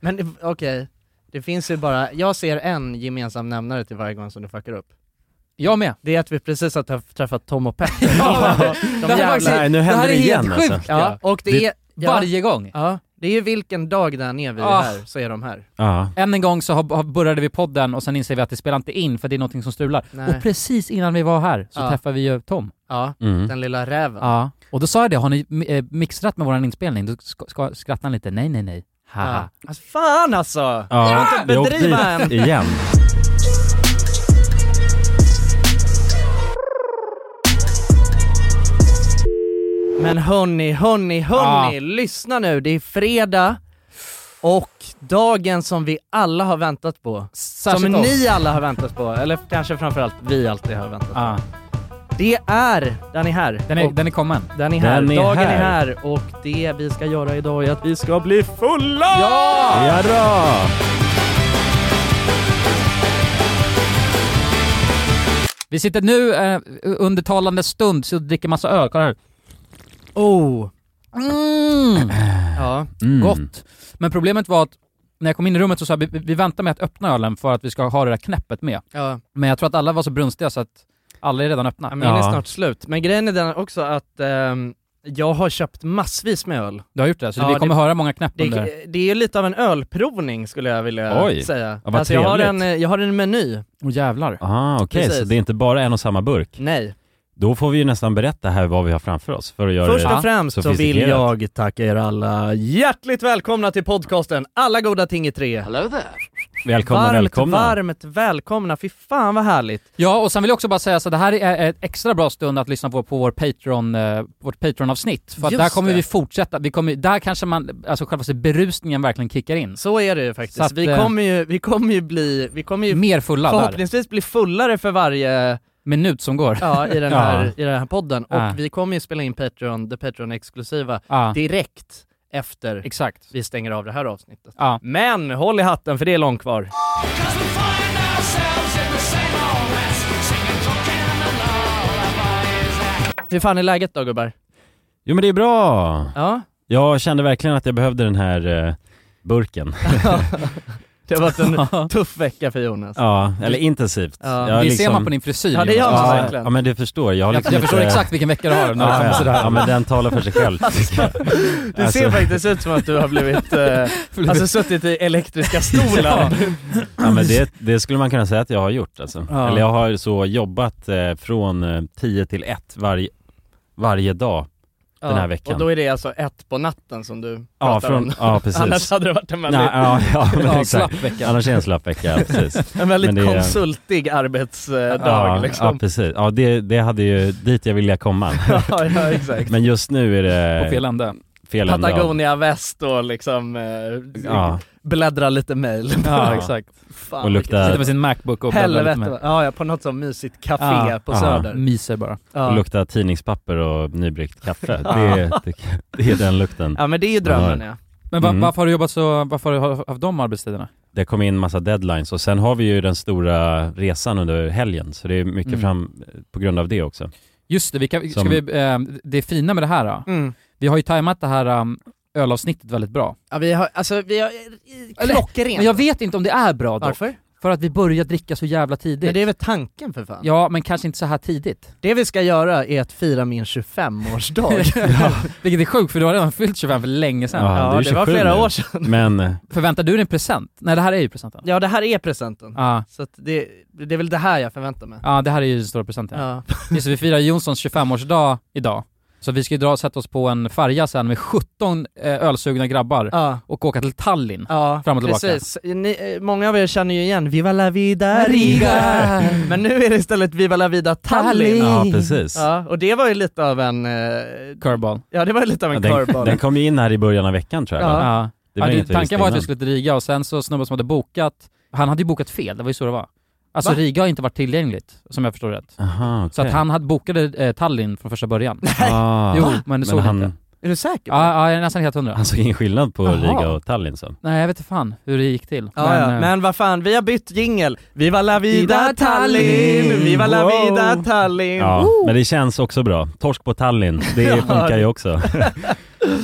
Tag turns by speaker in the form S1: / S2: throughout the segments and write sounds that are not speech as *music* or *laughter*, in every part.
S1: Men det- okej, det finns ju bara, jag ser en gemensam nämnare till varje gång som du fuckar upp.
S2: Jag med.
S1: Det är att vi precis har träff- träffat Tom och Petter.
S2: *laughs* Ja,
S1: De- de
S2: det här
S1: jävla-
S2: faktiskt-
S3: Nej, nu
S2: det
S3: händer
S2: här
S3: det
S2: är
S3: igen
S2: helt
S3: alltså.
S2: sjukt.
S1: Ja, och det,
S3: Det-
S1: är, ja,
S2: Varje gång.
S1: ja, det är ju vilken dag där nere vi är
S2: Ah.
S1: här, så är de här.
S3: Ja.
S2: Än en gång så har, har började vi podden och sen inser vi att det spelar inte in för det är någonting som strular.
S1: Nej.
S2: Och precis innan vi var här så
S1: Ja.
S2: träffade vi ju Tom.
S1: Ja,
S3: Mm.
S1: den lilla räven.
S2: Ja. Och då sa jag det, har ni eh, mixtrat med våran inspelning? Då sk- sk- skrattade han lite, nej nej nej. Haha.
S1: Ja. Alltså, fan alltså!
S3: Ja,
S1: inte
S3: vi åkte
S1: bedriva
S3: dit igen.
S1: Men hörni, hörni, hörni,
S2: Ja.
S1: lyssna nu. Det är fredag och dagen som vi alla har väntat på. som
S2: oss.
S1: ni alla har väntat på, eller kanske framförallt vi alltid har väntat på.
S2: Ja.
S1: Det är, den är här.
S2: Den, är,
S1: och,
S2: den är kommen.
S1: den är här.
S3: Den är
S1: dagen är
S3: här.
S1: här och det vi ska göra idag är att vi ska bli fulla!
S3: Jadå!
S2: Vi sitter nu eh, under talande stund så dricker massa öl, kolla här.
S1: Oh!
S2: Mm.
S1: Ja.
S2: *clears throat*
S3: Mm.
S2: Gott. Men problemet var att när jag kom in i rummet så sa jag, vi, vi väntar med att öppna ölen för att vi ska ha det där knäppet med.
S1: ja.
S2: Men jag tror att alla var så brunstiga så att alla är redan öppna.
S1: Men den är
S3: Ja.
S1: snart slut. Men grejen är den också att ehm, jag har köpt massvis med öl.
S2: Du har gjort det, så
S1: Ja,
S2: vi kommer höra många knäpp under.
S1: Det, det är ju lite av en ölprovning skulle jag vilja
S3: Oj.
S1: säga.
S3: Ja, vad
S1: jag, har en,
S3: trevligt.
S1: eh, jag har en meny.
S2: Åh jävlar.
S3: Ah, okej,
S1: Precis.
S3: så det är inte bara en och samma burk.
S1: Nej.
S3: Då får vi ju nästan berätta här vad vi har framför oss för att göra
S1: Först och
S3: det.
S1: främst så vill
S3: sofistikerat.
S1: jag tacka er alla hjärtligt välkomna till podcasten Alla goda ting i tre.
S3: Välkomna,
S1: varmt,
S3: välkomna.
S1: varmt välkomna. Fy fan vad härligt.
S2: Ja, och sen vill jag också bara säga så det här är ett extra bra stund att lyssna på, på vår Patreon, eh, vårt Patreon-avsnitt. För att
S1: Just
S2: där kommer
S1: det.
S2: vi fortsätta, vi kommer, där kanske man, alltså själva berusningen verkligen kickar in.
S1: Så är det ju faktiskt.
S2: Så att,
S1: vi,
S2: eh,
S1: kommer ju, vi kommer ju bli, vi kommer ju
S2: Mer fulla där,
S1: förhoppningsvis bli fullare för varje,
S2: minut som går.
S1: ja, i den
S2: *laughs* Ja.
S1: här, i den här podden. Och
S2: Ja.
S1: vi kommer ju spela in Patreon, The Patreon exklusiva,
S2: Ja,
S1: direkt efter
S2: exakt.
S1: vi stänger av det här avsnittet.
S2: Ja.
S1: Men håll i hatten för det är långt kvar. Hur fan är läget då gubbar?
S3: Jo men det är bra!
S2: *laughs*
S1: Ja,
S3: Jag kände verkligen att jag behövde den här eh, burken.
S1: det har varit en tuff vecka för Jonas.
S3: Ja, eller intensivt.
S1: Ja.
S3: Jag
S2: det ser
S3: liksom-
S2: man på din frisyr
S1: Ja, det gör
S2: Jonas.
S1: man
S3: Ja,
S1: verkligen.
S3: ja men du förstår, jag har
S2: Jag,
S3: liksom
S2: jag förstår
S3: inte...
S2: exakt vilken vecka du har när du *laughs*
S3: Ja,
S2: kommer
S3: ja,
S2: sådär.
S3: ja men den talar för sig själv. *laughs*
S1: Det
S3: Alltså-
S1: ser faktiskt ut som att du har blivit, eh, alltså suttit i elektriska stolar.
S3: Ja, men det, det skulle man kunna säga att jag har gjort alltså.
S2: Ja.
S3: Eller jag har så jobbat eh, från eh, 10 till 1 varje, varje dag.
S1: *laughs* Ja,
S3: den här veckan.
S1: Och då är det alltså ett på natten som du
S3: Ja,
S1: pratar
S3: från,
S1: om. *laughs*
S3: ja precis.
S1: Annars hade det varit en väldigt,
S3: Nej, ja, ja,
S2: *laughs*
S3: men
S2: Ja,
S3: *laughs* exakt.
S2: slapp vecka.
S3: Annars är det en slapp vecka, ja,
S1: *laughs*
S3: precis.
S1: en väldigt
S3: men det är-
S1: konsultig arbetsdag
S3: ja, ja,
S1: liksom.
S3: precis. Ja, det, det hade ju dit jag
S1: *laughs*
S3: ville komma.
S1: Ja, ja, exakt.
S3: Men just nu är det
S2: På fel ände.
S3: fel ände av-
S1: Patagonia-väst och liksom eh,
S3: Ja,
S1: bläddra lite mail.
S2: Ja, exakt.
S1: *laughs* Fan,
S3: och
S2: Sitter
S3: lukta,
S2: med sin Macbook och
S1: Helvete. va? Ja, ja, på något sånt mysigt café
S2: Ja,
S1: på
S3: ja.
S1: Söder.
S2: Myser bara.
S3: och
S1: Ja.
S3: lukta tidningspapper och
S1: *laughs*
S3: nybryggt kaffe. Det, det, det är den lukten.
S1: ja, men det är ju drömmen ja.
S2: Men va,
S3: Mm.
S2: varför har du jobbat så, varför har du haft de arbetstiderna?
S3: Det kom in massa deadlines och sen har vi ju den stora resan under helgen så det är mycket
S2: Mm.
S3: fram på grund av
S2: *laughs*
S3: det också.
S2: Just det, vi kan, ska
S3: Som-
S2: vi, eh, det fina med det här, då.
S1: Mm.
S2: vi har ju tajmat det här um, ölavsnittet väldigt bra.
S1: ja vi har, alltså vi har,
S2: Eller-
S1: klockrent.
S2: Men jag vet inte om det är bra då.
S1: Varför?
S2: För att vi börjar dricka så jävla tidigt.
S1: Men det är väl tanken för fan?
S2: Ja, men kanske inte så här tidigt.
S1: Det vi ska göra är att fira min
S2: *laughs*
S1: 25-årsdag.
S2: Vilket är sjukt, för du har redan fyllt 25 för länge sedan.
S3: Ja. du
S1: ja,
S3: är
S1: det var
S3: 27
S1: flera
S3: nu.
S1: år sedan.
S3: Men eh,
S2: Förväntar du dig en present? Nej, det här är ju presenten.
S1: Ja, det här är presenten.
S2: Ja,
S1: Så att det, det är väl det här jag förväntar mig.
S2: ja det här är ju den stora presenten.
S1: Ja.
S2: Just det, vi firar Jonssons 25-årsdag idag. Så vi ska ju dra och sätta oss på en färja sen med 17 eh, ölsugna grabbar
S1: Ja.
S2: och åka till Tallinn.
S1: Ja,
S2: Fram och tillbaka.
S1: precis. Ni, eh, många av er känner ju igen Viva la vida riga! Men nu är det istället Viva la vida Tallinn.
S2: Tallinn.
S3: ja, precis.
S1: Ja, och det var ju lite av en, eh,
S2: Curveball.
S1: ja det var ju lite av
S3: Ja,
S1: en
S3: den,
S1: curveball.
S3: den kom ju in här i början av veckan tror jag.
S1: Ja.
S3: va?
S2: Ja.
S3: Det var
S2: ja,
S3: inget vi visste
S2: tanken var att vi
S3: innan.
S2: skulle till Riga och sen så snubben som hade bokat, han hade ju bokat fel, det var ju så det var. Alltså
S1: Va?
S2: Riga har inte varit tillgängligt, som jag förstår rätt.
S3: Aha,
S2: Så
S3: okej.
S2: att han hade bokade eh, Tallinn från första början.
S3: Ah,
S2: *laughs* Jo, men det
S3: men
S2: såg han...
S3: han,
S2: inte.
S1: Är du säker?
S2: Ja, ja, jag är nästan helt hundra.
S3: han såg ingen skillnad på
S2: Jaha.
S3: Riga och Tallinn så.
S2: Nej, jag vet inte fan hur det gick till.
S1: Ja, men, ja.
S2: eh,
S1: men vad fan, vi har bytt jingel. Viva la vida
S2: Viva
S1: Tallinn!
S2: Tallinn!
S1: Viva la
S2: Wow.
S1: vida Tallinn!
S3: Ja, men det känns också bra. Torsk på Tallinn,
S2: *laughs*
S3: det funkar ju också. *laughs*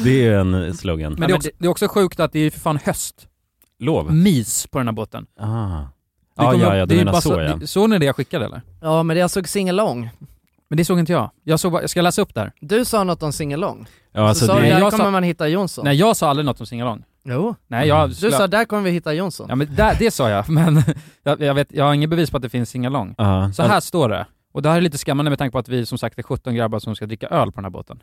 S3: Det är ju en slogan.
S2: men, det, Mm. är
S1: men
S2: också, det är också sjukt att det är ju för fan höst.
S3: lov?
S2: mys på den här båten.
S3: Ah.
S2: Det
S3: Ja,
S2: kommer-
S3: ja,
S2: det
S3: ja, du
S2: är ju
S3: menar
S2: bara
S3: så ja.
S2: det- Såg ni det jag skickade eller?
S1: Ja men alltså jag såg singalong.
S2: Men det såg inte jag. Jag såg bara, ska jag läsa upp det här?
S1: Du sa något om singalong.
S3: ja alltså,
S1: så sa
S3: det,
S1: du,
S2: jag
S1: där
S2: sa-
S1: kommer man hitta Jonsson.
S2: Nej, jag sa aldrig något om singalong.
S1: Jo.
S2: Nej, jag...
S3: Mm.
S1: Du sa, där kommer vi hitta Jonsson.
S2: Ja men där, det sa jag, *laughs* men jag, jag, vet, jag har ingen bevis på att det finns singalong.
S3: ja.
S2: Så här står det, och det här är lite skrämmande med tanke på att vi som sagt är 17 grabbar som ska dricka öl på den här båten.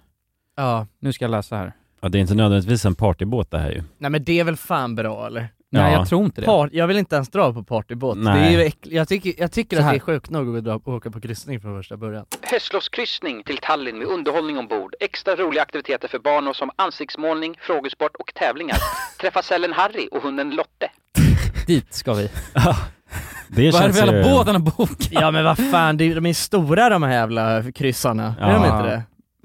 S1: Ja.
S2: Nu ska jag läsa här.
S3: ja, det är inte nödvändigtvis en partybåt det här ju.
S1: Nej men det är väl fan bra eller?
S2: Nej
S3: Ja.
S2: jag tror inte det.
S1: Part, jag vill inte ens dra på partybåt. Det
S3: Nej.
S1: är ju äckligt. Jag tycker, jag tycker
S2: Så
S1: att det
S2: här.
S1: är sjukt nog att dra, åka på kryssning från första början.
S4: Hässlovs kryssning till Tallinn med underhållning ombord, extra roliga aktiviteter för barn och som ansiktsmålning, frågesport och
S2: *laughs*
S4: tävlingar. Träffa sällen Harry och hunden Lotte.
S2: Dit ska vi.
S3: Det
S2: Vad är det för
S3: känns
S2: jävla
S3: ju...
S2: båt han har bokat?
S1: Ja men vad fan, det är- de är stora de här jävla kryssarna. Är de
S3: Ja.
S1: inte det?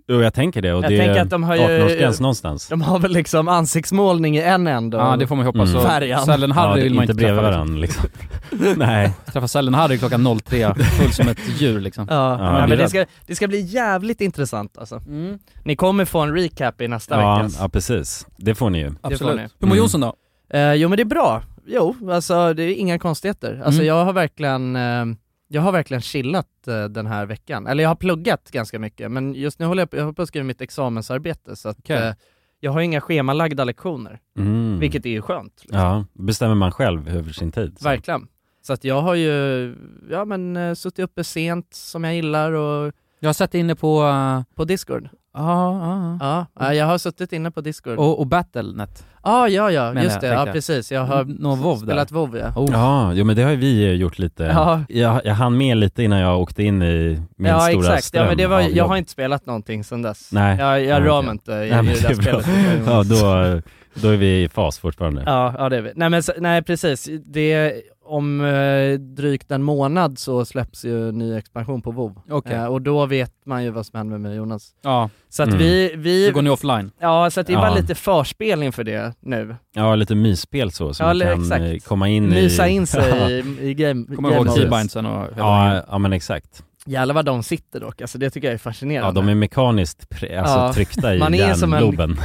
S3: Jo, jag tänker det och
S1: Jag
S3: det
S1: tänker
S3: är
S1: att de har ju-
S3: 18-årsgräns någonstans.
S1: De har väl liksom ansiktsmålning i en ände
S2: Ja det får man ju hoppas.
S3: Mm.
S2: Så
S1: Färjan.
S2: Sällen Harry
S3: ja,
S2: vill man inte
S3: bredvid
S2: träffa. Liksom.
S3: varandra
S1: *laughs*
S3: liksom. Nej.
S2: Träffa Sällen Harry klockan
S3: *laughs*
S2: 03, full som ett djur liksom.
S1: Ja,
S3: Ja,
S1: men
S3: det är
S1: det
S3: rätt.
S1: ska, det ska bli jävligt intressant alltså.
S2: Mm,
S1: Ni kommer få en recap i nästa
S3: Ja,
S1: veckas.
S3: ja, precis. Det får ni ju.
S1: får ni.
S2: Absolut. Hur mår
S3: Mm.
S2: Jonsson då?
S1: Eh, jo men det är bra. Jo, alltså det är inga konstigheter. Alltså
S2: Mm.
S1: jag har verkligen, eh, jag har verkligen chillat eh, den här veckan. Eller jag har pluggat ganska mycket, men just nu håller jag på, jag håller på att skriva mitt examensarbete så att
S2: Okej.
S1: eh, jag har inga schemalagda lektioner,
S3: Mm.
S1: vilket är ju skönt. liksom.
S3: Ja, bestämmer man själv över sin tid.
S2: Liksom.
S3: så.
S1: Verkligen. Så att jag har ju, ja men eh, suttit uppe sent som jag gillar och
S2: Jag har sett dig inne på... eh,
S1: på Discord.
S2: Ja, ja, ja.
S1: Ja, eh, jag har suttit inne på Discord.
S2: Mm. Och, och Battlenet.
S1: Ah, ja, ja,
S2: Menar
S1: just
S2: jag,
S1: det.
S2: tänkte
S1: Ja,
S2: jag.
S1: precis. Jag har
S2: Nå WoW där.
S1: spelat WoW, ja.
S2: Oh.
S3: Ja, jo, men det har ju vi eh, gjort lite.
S1: Ja.
S3: Jag, jag hann med lite innan jag åkte in i min
S1: ja,
S3: stora
S1: exakt.
S3: ström
S1: Ja, men det var,
S3: av
S1: jag
S3: jobb.
S1: har inte spelat någonting sedan dess.
S3: Nej.
S1: Jag, jag
S3: Nej,
S1: rör
S3: okej.
S1: mig inte i,
S3: Nej,
S1: i
S3: men
S1: det där
S3: det är bra.
S1: spelet.
S3: *laughs* Ja, då, då är vi i fas fortfarande.
S1: Ja, ja, det är vi. Nej, men, så- nej, precis. Det, om eh, drygt en månad så släpps ju ny expansion på WoW.
S2: Okej.
S1: Eh, och då vet man ju vad som händer med mig och Jonas.
S2: Ja,
S1: Så att
S3: Mm.
S1: vi,
S2: då
S1: vi
S2: går ni offline.
S1: ja, så att det är bara
S3: Ja.
S1: lite förspel inför det nu.
S3: Ja, lite mysspel så, så
S1: Ja,
S3: man
S1: eller
S3: kan
S1: exakt.
S3: eh, komma in i...
S1: Mysa in sig i, i game,
S2: Kommer ihåg
S1: game
S2: T-Bind sen och hela
S3: *laughs* Ja, ja, men exakt.
S1: Jävlar vad de sitter dock, alltså det tycker jag är fascinerande.
S3: Ja, de är mekaniskt pre- alltså,
S1: Ja.
S3: tryckta i
S1: Man är som en-
S3: hjärnloben.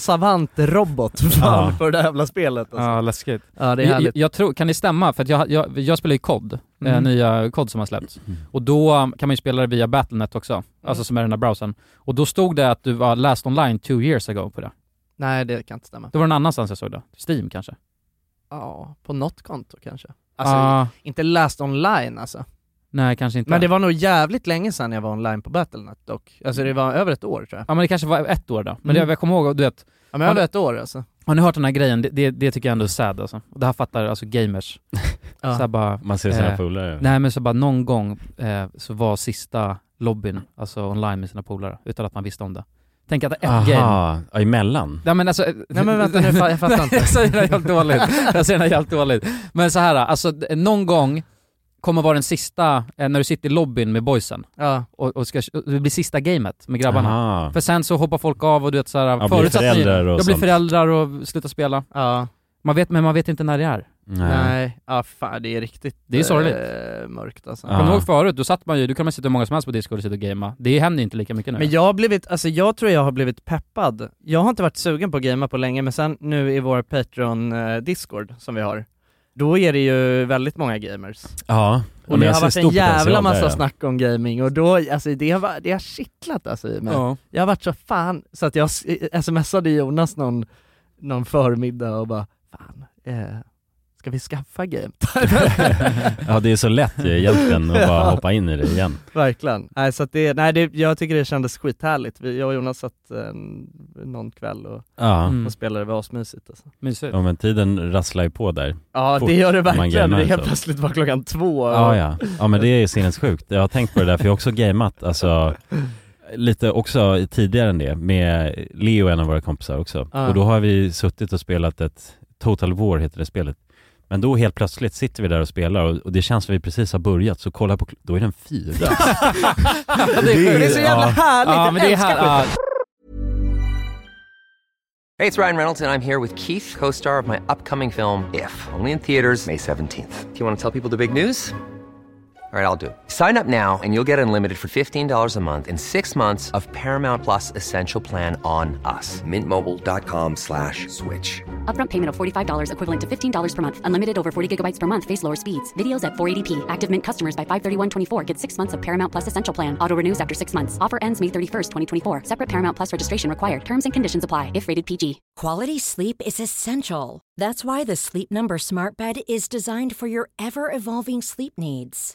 S1: savantrobot *laughs* fan, på det där jävla spelet alltså.
S2: Ja, läskigt.
S1: ja. det är
S2: Jag,
S1: härligt.
S2: jag tror, kan det stämma? För att jag, jag, jag spelar ju COD, eh,
S1: Mm.
S2: nya COD som har släppts.
S3: Mm.
S2: Och då um, kan man ju spela det via Battlenet också, alltså som är den där browsern. Och då stod det att du var last online two years ago på det.
S1: Nej det kan inte stämma.
S2: Det var någon annanstans jag såg det. Steam kanske?
S1: Ja, på något konto kanske. Alltså
S2: Ah,
S1: inte läst online alltså.
S2: nej, kanske inte.
S1: Men det var nog jävligt länge sedan jag var online på Battlenet dock. Alltså det var över ett år tror jag.
S2: Ja men det kanske var ett år då. Men
S1: Mm.
S2: det, jag kommer ihåg, du vet,
S1: Ja men
S2: Ja,
S1: över
S2: det-
S1: ett år alltså.
S2: har ni hört den här grejen? Det, det, det tycker jag ändå är sad alltså. Och det här fattar alltså gamers. Så här
S1: Ja.
S2: bara,
S3: Man ser sina
S2: Eh,
S3: polare.
S2: Nej men så bara någon gång eh, så var sista lobbyn, alltså online med sina polare, utan att man visste om det. Tänk att det är ett game.
S3: Aha, ja, emellan.
S2: Nej men alltså...
S1: Nej men vänta nu, fa- jag fattar inte.
S2: *laughs* jag säger det här helt dåligt. Jag säger det här helt dåligt. Men så här, alltså d- någon gång kommer vara den sista, eh, när du sitter i lobbyn med boysen
S1: Ja.
S2: och, och ska, och det blir sista gamet med grabbarna.
S3: Aha.
S2: För sen så hoppar folk av och du vet så här,
S3: Ja, blir
S2: förutsatt ni-
S3: föräldrar och
S2: Jag blir
S3: sånt.
S2: föräldrar och slutar spela.
S1: Ja,
S2: Man vet, men man vet inte när det är.
S3: Nej.
S1: nej, ja fan det är riktigt
S2: Det är sorgligt.
S1: eh, mörkt alltså.
S3: Ja.
S2: Kommer du ihåg förut, då satt man ju, då kan man sitta hur många som helst på Discord och sitta och gamea. Det händer ju inte lika mycket nu.
S1: Men jag har blivit, alltså jag tror jag har blivit peppad. Jag har inte varit sugen på att gamea på länge, men sen nu i vår Patreon-discord som vi har, då är det ju väldigt många gamers.
S3: Ja.
S1: Och det
S3: jag
S1: har
S3: ser
S1: varit
S3: stor
S1: en
S3: potential
S1: jävla
S3: där,
S1: massa
S3: ja.
S1: snack om gaming och då, alltså det har, va- det har kittlat alltså i mig.
S2: ja.
S1: Jag har varit så fan, så att jag s- eh, smsade Jonas någon, någon förmiddag och bara fan, eh, ska vi skaffa game? *laughs*
S3: *laughs* ja, det är så lätt ju
S2: *laughs*
S3: egentligen att bara
S1: Ja.
S3: hoppa in i det igen.
S1: Verkligen. Nej, så att det, nej det, jag tycker det kändes skithärligt. Vi, jag och Jonas satt eh, någon kväll och,
S3: Ja.
S2: Mm.
S1: och spelade, det var asmysigt alltså.
S2: Mysigt.
S3: ja, men tiden rasslar ju på där.
S1: Ja
S3: Fort
S1: det gör det
S3: man
S1: verkligen,
S3: gamer,
S1: det är helt
S3: så.
S1: plötsligt var klockan två
S3: Ja, ja. ja, men det är sinnessjukt. Jag har tänkt på det där, för jag har också gameat, alltså lite också tidigare än det, med Leo, en av våra kompisar också.
S1: Ja.
S3: Och då har vi suttit och spelat ett, Total War heter det spelet. Men då helt plötsligt sitter vi där och spelar och, och det känns som vi precis har börjat, så kolla på kl- då är den fyra.
S2: det är
S1: Det är så jävla
S3: Ja.
S1: härligt,
S2: Ja, men det är
S1: jag älskar
S2: här, ja,
S5: Hey, it's Ryan Reynolds, and I'm here with Keith, co star of my upcoming film, If, only in theaters, May 17th. Do you want to tell people the big news? All right, I'll do it. Sign up now and you'll get unlimited for $15 a month in six months of Paramount Plus Essential Plan on us. Mintmobile.com slash switch.
S6: Upfront payment of $45 equivalent to $15 per month. Unlimited over 40 gigabytes per month. Face lower speeds. Videos at 480p. Active Mint customers by 531.24 get six months of Paramount Plus Essential Plan. Auto renews after six months. Offer ends May 31st, 2024. Separate Paramount Plus registration required. Terms and conditions apply if rated PG.
S7: Quality sleep is essential. That's why the Sleep Number Smart Bed is designed for your ever evolving sleep needs.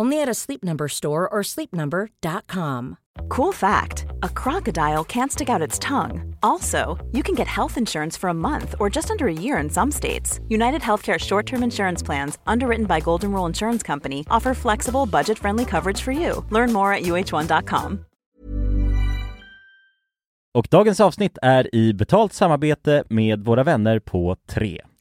S7: Only at a Sleep Number store or sleepnumber.com.
S8: Cool fact a crocodile can't stick out its tongue. Also, you can get health insurance for a month or just under a year in some states. United Healthcare short term insurance plans, underwritten by Golden Rule Insurance Company, offer flexible, budget friendly coverage for you. Learn more at uh1.com.
S3: Och dagens avsnitt är i betalt samarbete med våra vänner på 3.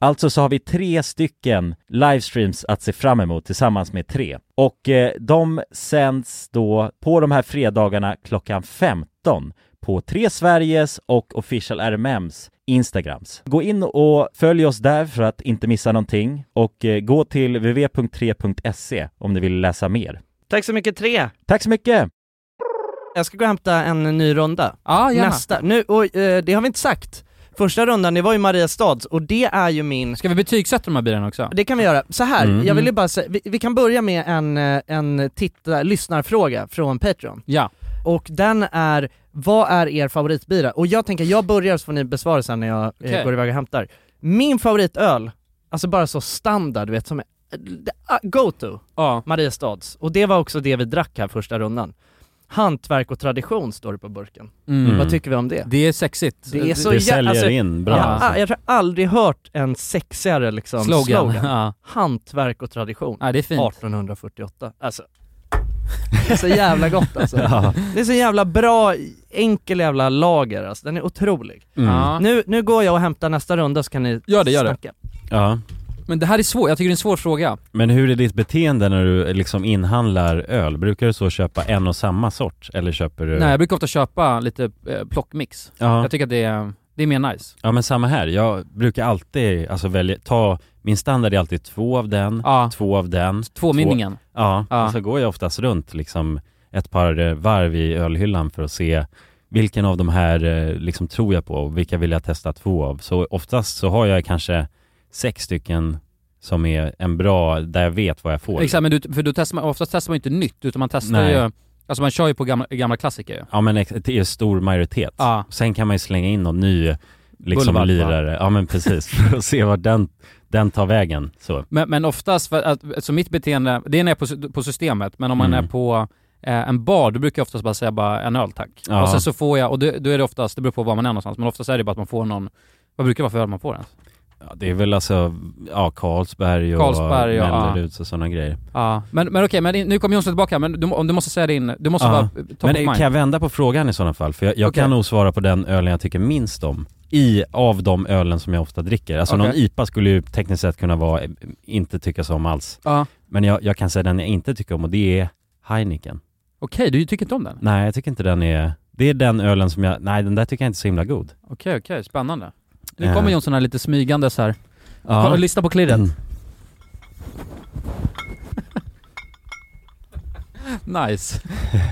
S3: Alltså så har vi tre stycken livestreams att se fram emot tillsammans med tre. Och eh, de sänds då på de här fredagarna klockan 15 på Tre Sveriges och Official RMMs Instagrams. Gå in och följ oss där för att inte missa någonting och eh, gå till www.3.se e om ni vill läsa mer.
S1: Tack så mycket, tre!
S3: Tack så mycket!
S1: Jag ska gå och hämta en ny runda.
S2: Ja, gärna.
S1: Nästa. Nu, och, eh, det har vi inte sagt. Första rundan, det var ju Mariestads och det är ju min
S2: Ska vi betygsätta de här bilarna också?
S1: Det kan vi göra. Så här,
S3: Mm.
S1: jag vill ju bara säga, vi, vi kan börja med en, eh, en titta, lyssnarfråga från Patreon.
S2: Ja.
S1: Och den är, vad är er favoritbira? Och jag tänker, jag börjar så får ni besvara sen när jag eh,
S2: Okej.
S1: går iväg och hämtar. Min favoritöl, alltså bara så standard, du vet som är, det- ah, go-to,
S2: ja.
S1: Mariestads. Och det var också det vi drack här första rundan. Hantverk och tradition står det på burken.
S2: Mm.
S3: Mm.
S1: Vad tycker vi om det?
S2: Det är sexigt.
S1: Det är så
S3: det
S1: jä-
S3: säljer
S1: alltså-
S3: in bra.
S1: Ja,
S2: alltså.
S1: ah, jag har aldrig hört en sexigare liksom
S2: slogan.
S1: slogan.
S2: *laughs* Ja.
S1: Hantverk och tradition.
S2: ja, det är fint.
S1: 1848. Alltså, det är så jävla gott
S2: *laughs*
S1: alltså. Det är så jävla bra, enkel jävla lager alltså. Den är otrolig.
S3: Mm.
S2: Ja.
S1: Nu, nu går jag och hämtar nästa runda så kan ni
S2: Gör det, gör det.
S1: snacka.
S3: Ja.
S2: Men det här är svårt, jag tycker det är en svår fråga.
S3: Men hur är ditt beteende när du liksom inhandlar öl? Brukar du så köpa en och samma sort? Eller köper du...
S2: Nej jag brukar ofta köpa lite eh, plockmix.
S3: ja.
S2: Jag tycker att det är, Det är mer nice.
S3: Ja men samma här, jag brukar alltid alltså välja, ta, min standard är alltid två av den,
S2: Ja,
S3: två av den
S2: tvåmynningen.
S3: Ja,
S2: Ja.
S3: och så går jag oftast runt liksom ett par eh, varv i ölhyllan för att se vilken av de här eh, liksom tror jag på och vilka vill jag testa två av. Så oftast så har jag kanske sex stycken som är en bra, där jag vet vad jag får.
S2: Exakt, men du, för du testar man, oftast testar man ju inte nytt utan man testar
S3: Nej.
S2: ju, alltså man kör ju på gamla, gamla klassiker ju.
S3: Ja men ex- det är stor majoritet.
S2: Ja.
S3: Sen kan man ju slänga in någon ny
S2: Boulevard,
S3: liksom
S2: va?
S3: lirare. Ja men precis, *laughs* för att se vart den, den tar vägen. Så.
S2: Men, men oftast, för att, så mitt beteende, det är när jag är på, på systemet, men om man
S3: Mm.
S2: är på eh, en bar, då brukar jag oftast bara säga bara en öl tack.
S3: Ja.
S2: Och sen så får jag, och det, då är det oftast, det beror på var man är någonstans, men oftast är det bara att man får någon, vad brukar det vara för öl man får ens?
S3: Ja, det är väl alltså, ja Carlsberg och
S2: Carlsberg och-
S3: Melleruds och sådana grejer.
S2: Ja. Men, men okej, men nu kommer Jonsson tillbaka, men du, om du måste säga din, du måste
S3: Ja.
S2: vara eh, top
S3: Men
S2: of
S3: eh,
S2: mind.
S3: kan jag vända på frågan i sådana fall? För jag, jag
S2: Okej.
S3: kan nog svara på den ölen jag tycker minst om i, av de ölen som jag ofta dricker. Alltså
S2: Okej.
S3: någon IPA skulle ju tekniskt sett kunna vara, eh, inte tyckas om alls.
S2: Ja.
S3: Men jag, jag kan säga den jag inte tycker om och det är Heineken.
S2: Okej, du tycker inte om den?
S3: Nej, jag tycker inte den är, det är den ölen som jag, nej den där tycker jag inte är så himla god.
S2: Okej, okej, spännande. Nu
S3: Eh.
S2: kommer Jonsson här lite smygandes här. Kolla, lyssna på klirret.
S3: Mm.
S2: Nice.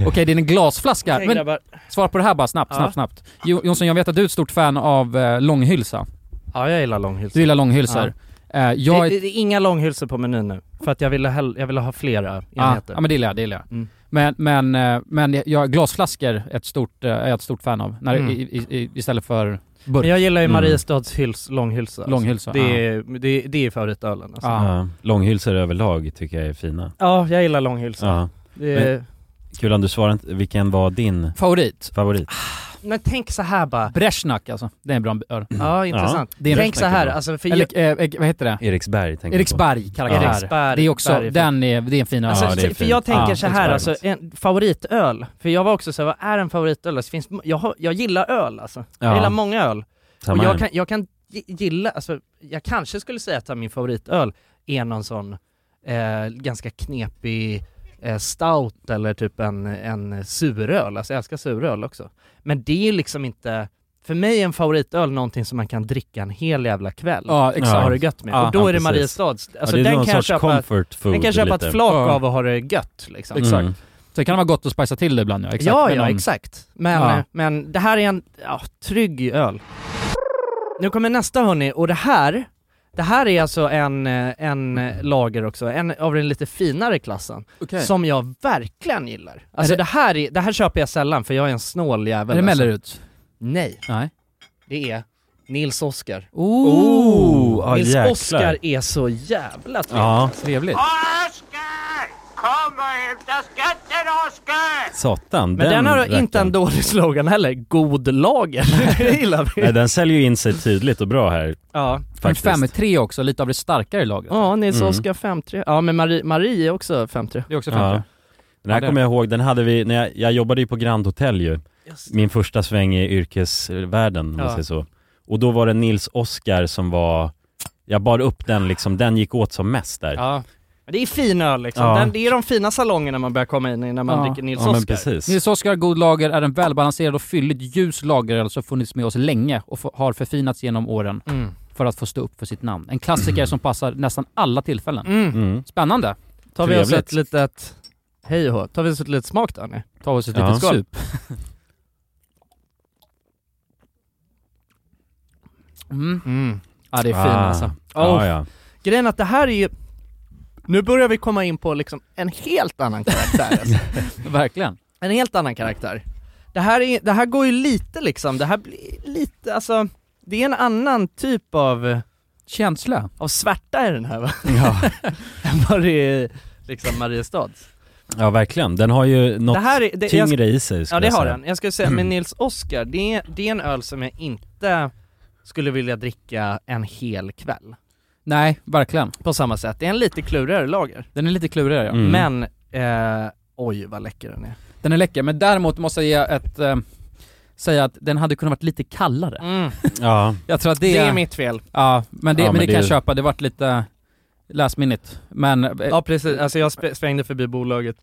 S2: Okej, det är en glasflaska.
S1: Okej,
S2: Men
S1: grabbar.
S2: Svara på det här bara snabbt,
S1: Ja.
S2: snabbt, snabbt. Jo, Jonsson, jag vet att du är ett stort fan av eh, långhylsa.
S1: Ja, jag gillar långhylsor.
S2: Du gillar långhylsor. Eh, jag
S1: Det,
S2: är...
S1: det, det är inga långhylsor på menyn nu, för att jag ville, hell- jag ville ha flera
S2: Ja,
S1: enheter.
S2: ja, men det gillar jag, det gillar jag.
S1: Mm.
S2: Men, men, eh, men jag, glasflaskor är ett stort, eh, är jag ett stort fan av. När,
S1: Mm.
S2: i, i, i, istället för
S1: Men
S2: burk.
S1: jag gillar ju
S3: Mm.
S1: Mariestads hyls, långhylsa. alltså.
S2: Långhylsa,
S1: Det är, det, är- det är favoritölen alltså.
S2: Ja.
S1: ja.
S3: Ja, långhylsor överlag tycker jag är fina.
S1: jag gillar långhylsa.
S3: Ja.
S1: Det är,
S3: Kulan, du svarar inte, vilken var din
S2: Favorit?
S3: favorit?
S1: Men tänk så här bara.
S2: Bresjnak alltså. Det är en bra öl.
S1: Ja, intressant.
S2: Det är en
S1: tänk
S3: rätt
S1: så här,
S3: bra.
S1: alltså för
S2: Eller, eh, eh, vad heter det?
S3: Eriksberg tänker jag på.
S2: Eriksberg karaktär.
S1: Eriksberg,
S2: Det är också,
S1: Berg.
S2: den är, det är en fin öl.
S1: Alltså,
S3: Ja, det är
S1: för
S3: fint.
S1: jag tänker
S2: Ja,
S1: så här,
S3: exakt.
S1: alltså en favoritöl. För jag var också så här, vad är en favoritöl? Alltså, finns, jag, har, jag gillar öl alltså.
S3: Ja.
S1: Jag gillar många öl.
S3: Samma
S1: och jag
S3: här.
S1: kan, jag kan gi- gilla, alltså jag kanske skulle säga att min favoritöl är någon sån eh, ganska knepig eh, stout eller typ en, en suröl. Alltså jag älskar suröl också. Men det är ju liksom inte, för mig är en favoritöl någonting som man kan dricka en hel jävla kväll.
S2: Ja, exakt.
S1: Och ha det gött med.
S2: Ja,
S1: och då
S3: ja,
S1: är det
S3: precis.
S1: Mariestads, alltså
S3: ja, det är
S1: den,
S3: någon
S1: kan jag
S3: sorts
S1: köpa,
S3: comfort food
S1: den kan jag köpa ett
S3: lite.
S1: flak
S2: Ja.
S1: av och ha det gött liksom.
S2: Exakt.
S3: Mm.
S2: Så det kan vara gott att spicea till det ibland ja. Exakt.
S1: Ja,
S2: Med
S1: ja,
S2: någon-
S1: exakt. Men,
S2: Ja.
S1: eh, men det här är en ja, trygg öl. Nu kommer nästa hörni, och det här, det här är alltså en, eh, en eh, lager också, en av den lite finare klassen,
S2: Okej.
S1: som jag verkligen gillar. Alltså
S2: Är det-
S1: det, här är, det här köper jag sällan för jag är en snål jävel.
S2: Är det
S1: alltså.
S2: Mellerud?
S1: Nej,
S2: Nej.
S1: det är Nils Oskar.
S3: Oh, ja,
S1: Nils
S3: jäklar.
S1: Oskar är så jävla trevlig.
S3: Ja,
S2: Trevligt.
S3: satan.
S1: Men den, har
S3: rackaren.
S1: inte en dålig slogan heller, god lager.
S3: *laughs*
S1: det gillar vi.
S3: Nej, den säljer ju in sig tydligt och bra här
S1: Ja.
S2: En
S3: faktiskt.
S2: 5-3 också, lite av det starkare laget.
S1: Ja, Nils
S3: Mm.
S1: Oskar 5-3. Ja, men Marie, Marie är också 5-3.
S2: Det är också 5-3.
S3: Ja. Den här
S2: Ja, det-
S3: kommer jag ihåg, den hade vi, när jag, jag jobbade ju på Grand Hotel ju, min första sväng i yrkesvärlden om man
S1: Ja.
S3: säger så. Och då var det Nils Oskar som var, jag bar upp den liksom, den gick åt som mest där.
S1: Ja. Men Det är fin öl liksom.
S3: Ja.
S1: Den, det är de fina salongerna man börjar komma in i när man
S2: Ja.
S1: dricker Nils
S3: Ja, men
S1: Oskar.
S3: precis.
S2: Nils Oskar God Lager är en välbalanserad och fylligt ljus lageröl som funnits med oss länge och f- har förfinats genom åren
S1: Mm.
S2: för att få stå upp för sitt namn. En klassiker som passar nästan alla tillfällen.
S1: Mm.
S3: Mm.
S2: Spännande!
S1: Tar vi oss
S3: Trevligt.
S1: ett litet, hej och hå. tar vi oss ett litet smak då nu?
S2: Ta oss ett
S3: Ja.
S2: litet
S3: Skål.
S2: sup. *laughs* mm. Ja det är fin
S3: Ah.
S2: alltså.
S3: Ja, ja.
S1: Grejen är att det här är ju, nu börjar vi komma in på liksom en helt annan *laughs* karaktär alltså.
S2: Verkligen.
S1: En helt annan karaktär. Det här, är, det här går ju lite liksom, det här blir lite, alltså, det är en annan typ av
S2: Känsla.
S1: av svärta i den här va?
S3: Ja.
S1: *laughs* Än vad det är liksom Mariestads.
S3: ja, verkligen. Den har ju något
S1: Det här är, det, jag,
S3: tyngre i sig
S1: ja
S3: skulle
S1: det
S3: jag
S1: har
S3: säga. Mm.
S1: den. Jag skulle säga med Nils Oskar, det, är- det är en öl som jag inte skulle vilja dricka en hel kväll.
S2: Nej, verkligen.
S1: På samma sätt, det är en lite klurigare lager.
S2: Den är lite klurigare ja.
S3: Mm.
S1: Men, eh, oj vad läcker den är.
S2: Den är läcker, men däremot måste jag ge ett, eh, säga att den hade kunnat varit lite kallare.
S3: Ja,
S2: Jag tror att det,
S1: Mm. Det är mitt fel.
S2: Ja, men det,
S3: Ja,
S2: men
S3: men
S2: det
S3: det
S2: kan jag
S3: är-
S2: köpa. Det vart lite last minute. Men eh,
S1: Ja precis, alltså jag sp- svängde förbi bolaget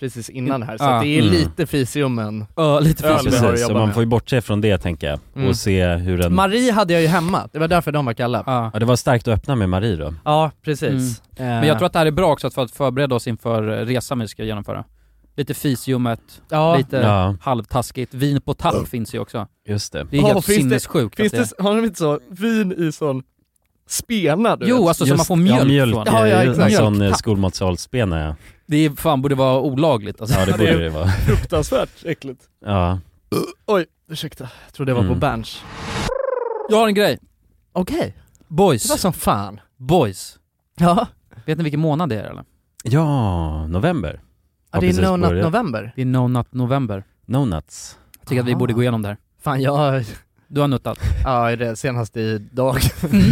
S1: precis innan här, så
S2: Ja.
S1: att det är
S3: Mm.
S1: lite fis i ummen.
S2: Ja, lite
S1: Ja,
S2: fysiskt.
S1: det har jag
S3: Precis, så
S1: jobbat
S3: man
S1: med.
S3: får ju bortse från det tänker jag
S1: Mm.
S3: och se hur den...
S1: Marie hade jag ju hemma, det var därför de var kalla. Mm. Ja,
S2: Ja.
S3: ja, det var starkt att öppna med Marie då.
S1: precis.
S2: Men jag tror att det här är bra också för att förbereda oss inför eh, resan vi ska genomföra. Lite fisljummet,
S1: ja.
S2: lite
S3: Ja.
S2: halvtaskigt. Vin på tapp finns ju också.
S3: Just Öh. det.
S2: Det är
S1: Ja,
S2: helt
S1: finns det-
S2: sinnessjukt. att
S1: Finns det, har de inte så, vin i sån spena du
S2: Jo,
S1: vet?
S2: alltså så
S3: Just-
S2: man får mjölk,
S3: ja, mjölk
S2: från.
S1: Ja,
S3: Ja,
S1: ja,
S3: ja,
S1: exakt.
S3: En sån eh,
S1: Mjölktapp.
S3: skolmatsalsspene ja.
S2: Det är, fan borde vara olagligt alltså.
S3: ja, det borde det vara.
S1: Fruktansvärt äckligt.
S3: Ja.
S1: Oj, ursäkta. Jag trodde det var
S3: Mm.
S1: på Berns.
S2: Jag har en grej.
S1: Okej, det var
S2: Boys.
S1: som fan.
S2: Boys.
S1: Ja,
S2: Vet ni vilken månad det är eller?
S3: Ja, november.
S1: ja det
S3: precis
S1: är No Nut
S3: börjat.
S1: November.
S2: Det är No Nut November.
S3: No nuts.
S2: Jag tycker att vi
S1: Aha.
S2: borde gå igenom det här.
S1: Fan jag,
S2: Du
S1: *laughs*
S2: har nuttat?
S1: ja det senaste idag.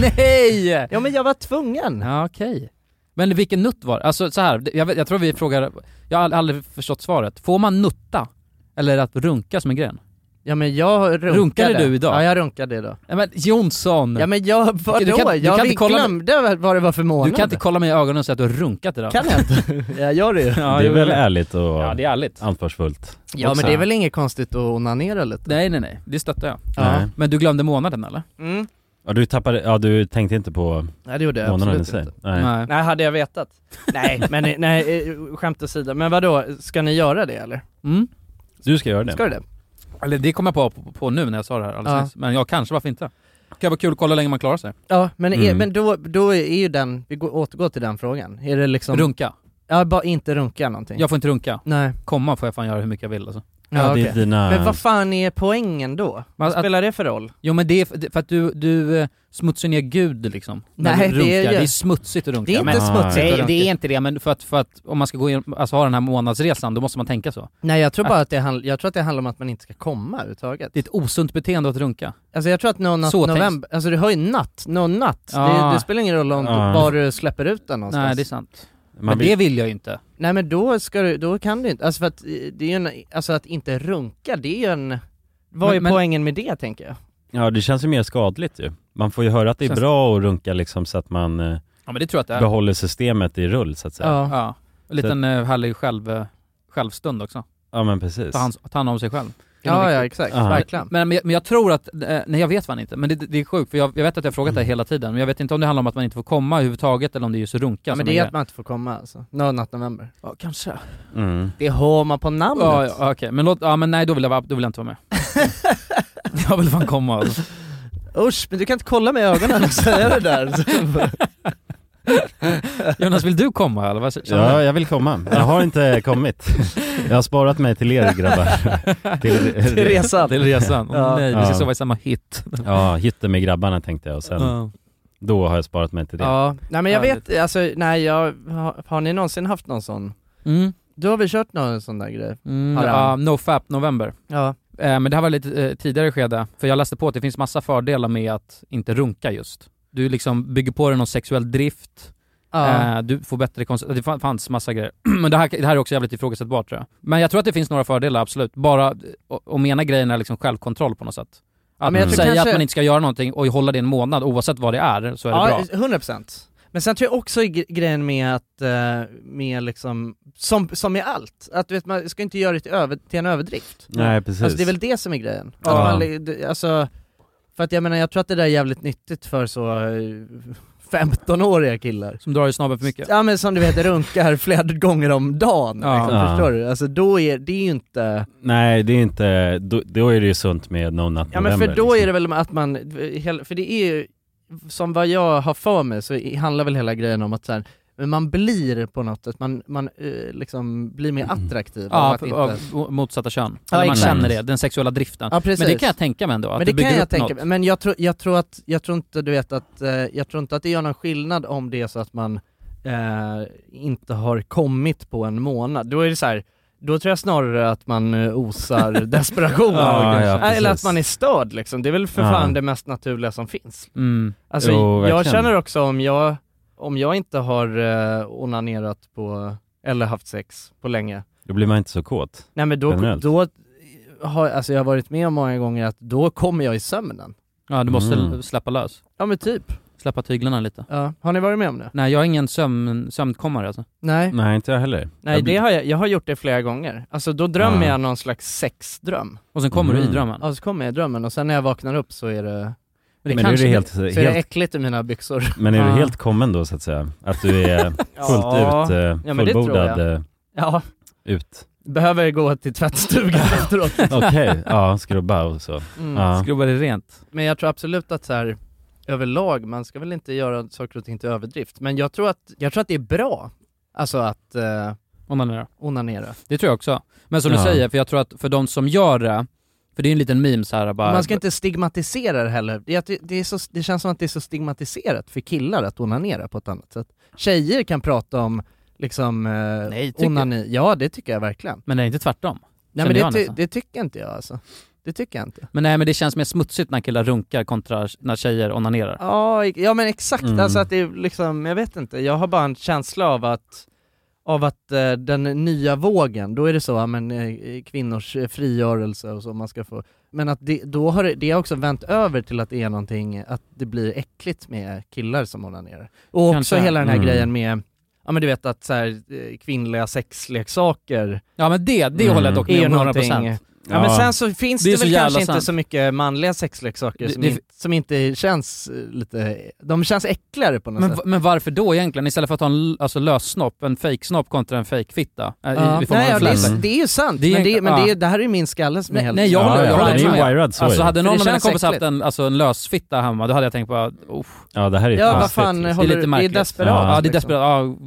S2: Nej!
S1: Ja men jag var tvungen.
S2: Ja, okej. Men vilken nutt var det? Alltså så här, det- jag, vet, jag tror vi frågar, jag har aldrig förstått svaret. Får man nutta? Eller att runka som en gren?
S1: Ja men jag runkade.
S2: Runkade du idag?
S1: Ja jag runkade idag.
S2: Nej men Jonsson!
S1: Ja men jag, vadå?
S2: Du kan- du
S1: jag
S2: kan
S1: vi
S2: inte kolla-
S1: glömde väl vad det var för månad.
S2: du kan inte kolla mig i ögonen och säga att du har runkat idag.
S1: Kan jag *laughs* inte? Jag gör det ju.
S2: ja,
S3: det är
S2: jo,
S3: väl
S2: men-
S3: ärligt och
S2: Ja, det är ärligt.
S3: ansvarsfullt.
S1: Ja men det är väl inget konstigt att onanera lite?
S2: Nej nej nej, det stöttar jag.
S1: Ja.
S3: Nej.
S2: Men du glömde månaden eller?
S1: Mm.
S3: Ja, du tappade, ja du tänkte inte på
S1: Nej det gjorde jag
S3: månaden i
S1: absolut
S3: sig?
S1: inte.
S3: Nej.
S1: Nej hade jag vetat? Nej men nej, eh, skämt åsido. Men vadå, ska ni göra det eller?
S2: Mm.
S3: Du ska göra det.
S1: Ska du det?
S2: Eller det kom jag på, på, på nu när jag sa det här alldeles
S1: Ja.
S2: nyss. Men ja, kanske, varför inte? Kan vara kul att kolla hur länge man klarar sig.
S1: Ja men, är,
S3: Mm.
S1: men då, då är ju den, vi går, återgår till den frågan. Är det liksom...
S2: Runka.
S1: Ja bara inte runka någonting.
S2: Jag får inte runka.
S1: Nej.
S2: Komma får jag fan göra hur mycket jag vill alltså.
S1: Ja,
S3: Ja, det
S1: okej.
S3: är dina...
S1: Men vad fan är poängen då?
S2: Men
S1: Vad
S2: att-
S1: spelar det för roll?
S2: Jo men det är för, för att du, du eh, smutsar ner gud liksom. när
S1: Nej,
S2: du
S1: det är
S2: runkar.
S1: ju-
S2: Det är smutsigt att runka.
S1: Det är inte
S2: men,
S3: Ah,
S1: smutsigt att
S2: nej,
S1: runka.
S2: det är inte det, men för att, för att om man ska gå in, alltså ha den här månadsresan, då måste man tänka så.
S1: Nej jag tror bara att det, handl- jag tror att det handlar om att man inte ska komma överhuvudtaget.
S2: Det är ett osunt beteende att runka.
S1: Alltså jag tror att någon natt,
S2: Så tänks-
S1: november, alltså du har ju natt, någon natt.
S2: Ah.
S1: Det, det spelar ingen roll om
S3: Ah.
S1: var du släpper ut den någonstans.
S2: Nej, det är sant.
S3: man
S2: men
S3: vill-
S2: det vill jag ju inte.
S1: Nej men då ska du, då kan du inte, alltså för att eh, det är ju en, alltså att inte runka, det är ju en, vad
S2: Men-
S1: är
S2: men-
S1: poängen med det tänker jag?
S3: Ja, det känns ju mer skadligt ju. Man får ju höra att det är
S2: Känns-
S3: bra att runka liksom så att man eh,
S2: Ja men det tror jag att det är.
S3: behåller systemet i rull så att säga. Ja,
S1: Ja.
S2: Ja. En liten eh, härlig själv, eh, självstund också.
S3: men precis.
S2: Ta hand, ta hand om sig själv. Det är nog
S1: Ja, ja
S2: viktigt.
S1: exakt,
S3: Ja.
S1: verkligen.
S2: Men, men, jag- men jag tror att, eh, nej jag vet fan inte, men det, det är sjukt för jag, jag vet att jag har frågat det här hela tiden, men jag vet inte om det handlar om att man inte får komma överhuvudtaget eller om det är just runka
S1: Ja, men
S2: som
S1: det är
S2: är
S1: att man inte får komma alltså. No, natt november.
S2: Ja kanske.
S3: Mm.
S1: Det har man på namnet.
S2: Ja, ja okej, men låt, ja men nej då vill jag, vara- då vill jag inte *laughs* vara med. jag vill fan komma alltså.
S1: *laughs* Usch, men du kan inte kolla mig i ögonen och säga det
S2: *laughs*
S1: där.
S2: Jonas vill du komma eller? Vad känner du?
S3: Ja, jag vill komma. *laughs* Jag har inte kommit. Jag har sparat mig till er grabbar. till,
S1: Till resan.
S2: Till resan? Åh,
S1: Ja.
S2: nej, vi ska
S3: Ja.
S2: sova i samma hytt.
S3: Ja, hytten med grabbarna tänkte jag och sen då har jag sparat mig till det.
S1: Ja, nej men jag
S2: Härligt.
S1: vet, alltså nej jag, har, har ni någonsin haft någon sån?
S2: Mm.
S1: Då har vi kört någon sån där grej.
S2: Mm,
S1: Har
S2: ja,
S1: han.
S2: no fap november.
S1: Ja.
S2: Eh, men det här var lite eh, tidigare skede, för jag läste på att det finns massa fördelar med att inte runka just. Du liksom bygger på dig någon sexuell drift,
S1: Ja.
S2: Eh, du får bättre konst... Det fan- fanns massa grejer. *clears throat* Men det här, det här är också jävligt ifrågasättbart tror jag. Men jag tror att det finns några fördelar, absolut. Bara, eh, och, och mena grejen är liksom självkontroll på något sätt. Att
S1: men
S3: jag tror
S2: säga
S1: kanske-
S2: att man inte ska göra någonting och hålla det en månad oavsett vad det är, så är det bra.
S1: Ja, eh, 100%. Men sen tror jag också i gre- grejen med att, eh, med liksom, som, som med allt, att du vet, man ska inte göra det till, över, till en överdrift.
S3: Nej, precis.
S1: Alltså det är väl det som är grejen. Att
S3: Ja.
S1: man, li- det- alltså, för att jag menar, jag tror att det där är jävligt nyttigt för så eh, 15-åriga killar.
S2: Som drar i snabben för mycket.
S1: Ja men som du vet runkar *laughs* flera gånger om dagen,
S2: Ja.
S1: liksom,
S3: Ja.
S1: förstår du? Alltså då är det är ju inte...
S3: Nej, det är inte... Då, då är det ju sunt med No Nut
S1: Ja men för
S3: November,
S1: då
S3: liksom.
S1: är det väl att man, hel- för det är ju, som vad jag har för mig så i- handlar väl hela grejen om att så här, men man blir på något sätt, man, man eh, liksom blir mer
S3: Mm.
S1: attraktiv av
S2: Ja,
S1: att
S2: av,
S1: inte...
S2: av motsatta kön.
S1: Ja,
S2: Eller man
S1: exakt.
S2: känner det, den sexuella driften.
S1: ja precis.
S2: men det kan jag tänka mig ändå, att
S1: men
S2: du
S1: det
S2: bygger
S1: kan jag
S2: upp
S1: tänka
S2: något.
S1: mig. men jag tror, jag tror att, jag tror inte du vet att, eh, jag tror inte att det gör någon skillnad om det är så att man eh, inte har kommit på en månad. Då är det så här. Då tror jag snarare att man eh,
S2: *laughs*
S1: osar desperation.
S3: Ja, ja, precis.
S1: Eller att man är störd liksom. Det är väl för
S3: Ja.
S1: fan det mest naturliga som finns.
S2: Mm.
S1: Alltså
S3: Jo,
S1: jag
S3: verkligen.
S1: känner också om jag, om jag inte har eh, onanerat på, eller haft sex på länge,
S3: Då blir man inte så kåt.
S1: nej men då,
S3: Generellt.
S1: då har, alltså jag har varit med om många gånger att då kommer jag i sömnen.
S2: Ja, du måste
S3: Mm.
S2: släppa lös.
S1: Ja men typ.
S2: Släppa tyglarna lite.
S1: Ja. Har ni varit med om det?
S2: Nej, jag är ingen sömn, sömnkommare alltså.
S1: Nej.
S3: Nej, inte jag heller.
S1: Nej,
S3: Mm. jag
S1: det har jag, jag har gjort det flera gånger. Alltså då drömmer
S3: Ah.
S1: jag någon slags sexdröm.
S2: Och sen kommer du
S3: Mm.
S2: i drömmen.
S1: Ja, så kommer jag i drömmen och sen när jag vaknar upp så är det...
S3: Men nu är det helt,
S1: så är det
S3: helt,
S1: äckligt i mina byxor.
S3: men är du
S2: Ah.
S3: helt kommen då så att säga? Att du är fullt
S1: *laughs* Ja.
S3: ut, eh,
S1: Ja, men det tror
S3: fullbordad
S1: jag.
S3: eh,
S1: Ja,
S3: ut?
S1: behöver gå till
S3: *laughs*
S1: tvättstugan efteråt.
S3: Okej,
S1: *laughs*
S3: ja, skrubba och så.
S1: Mm.
S3: Ja.
S2: Skrubbar det rent.
S1: Men jag tror absolut att så här överlag, man ska väl inte göra saker och ting till överdrift. Men jag tror att, jag tror att det är bra, alltså att eh,
S2: Onanera.
S1: onanera.
S2: Det tror jag också. Men som
S3: Ja.
S2: du säger, för jag tror att för de som gör det, för det är en liten meme så här bara...
S1: Man ska inte stigmatisera det heller. Det, är att det- det, är så, det känns som att det är så stigmatiserat för killar att onanera på ett annat sätt. Tjejer kan prata om liksom eh,
S2: Nej, tycker-
S1: onani. Ja, det tycker jag verkligen.
S2: Men det är inte tvärtom.
S1: Nej
S2: Känner
S1: men det,
S2: jag
S1: ty,
S2: nästan.
S1: det tycker inte jag alltså. Det tycker jag inte.
S2: Men nej men det känns mer smutsigt när killar runkar kontra när tjejer onanerar.
S1: Ja, i- ja men exakt,
S3: Mm.
S1: alltså att det är liksom, jag vet inte, jag har bara en känsla av att av att eh, den nya vågen, då är det så, ja, men eh, kvinnors eh, frigörelse och så man ska få Men att det, då har det, det har också vänt över till att det är någonting, att det blir äckligt med killar som onanerar Och också
S2: Kanske.
S1: hela den här
S3: Mm.
S1: grejen med, ja men du vet att så här, eh, kvinnliga sexleksaker
S2: Ja men det, det
S3: Mm.
S2: håller jag dock
S1: är
S2: med
S1: ju
S2: om
S1: någonting
S2: 100%.
S1: ja, men sen så finns
S2: Det
S1: det,
S2: är
S1: väl
S2: så
S1: kanske
S2: jävla
S1: inte
S2: sant.
S1: så mycket manliga sexleksaker
S2: Det-
S1: som,
S2: det-
S1: inte, som inte känns eh, lite, de känns äckligare på något
S2: Men,
S1: sätt.
S2: v- men varför då egentligen? Istället för att ha en l- alltså, lös snopp, en fake snopp kontra en fake fitta äh, i, i form
S1: Nej,
S2: av
S1: ja,
S2: en
S1: det,
S2: flash.
S1: är, det är ju sant,
S2: Det är-
S1: men, det, men
S2: ja.
S1: det, är, det här är ju min skalle som är
S2: Nej,
S1: helt...
S2: nej, jag
S3: ja,
S2: håller- jag
S3: ja,
S2: håller
S3: den är ju
S2: med.
S3: wirad så
S2: Alltså
S3: är det.
S2: hade någon
S1: det
S2: av mina
S1: känns
S2: kompisar haft
S1: äckligt.
S2: en, alltså, en lös fitta hemma, då hade jag tänkt på att oh,
S3: Ja det här är
S1: Ja, vad
S3: konstigt,
S1: fan,
S3: liksom.
S2: det är
S1: håller
S2: lite
S1: du- det är
S2: märkligt.
S1: desperat,
S2: Ja, det
S1: liksom.
S2: är desperat.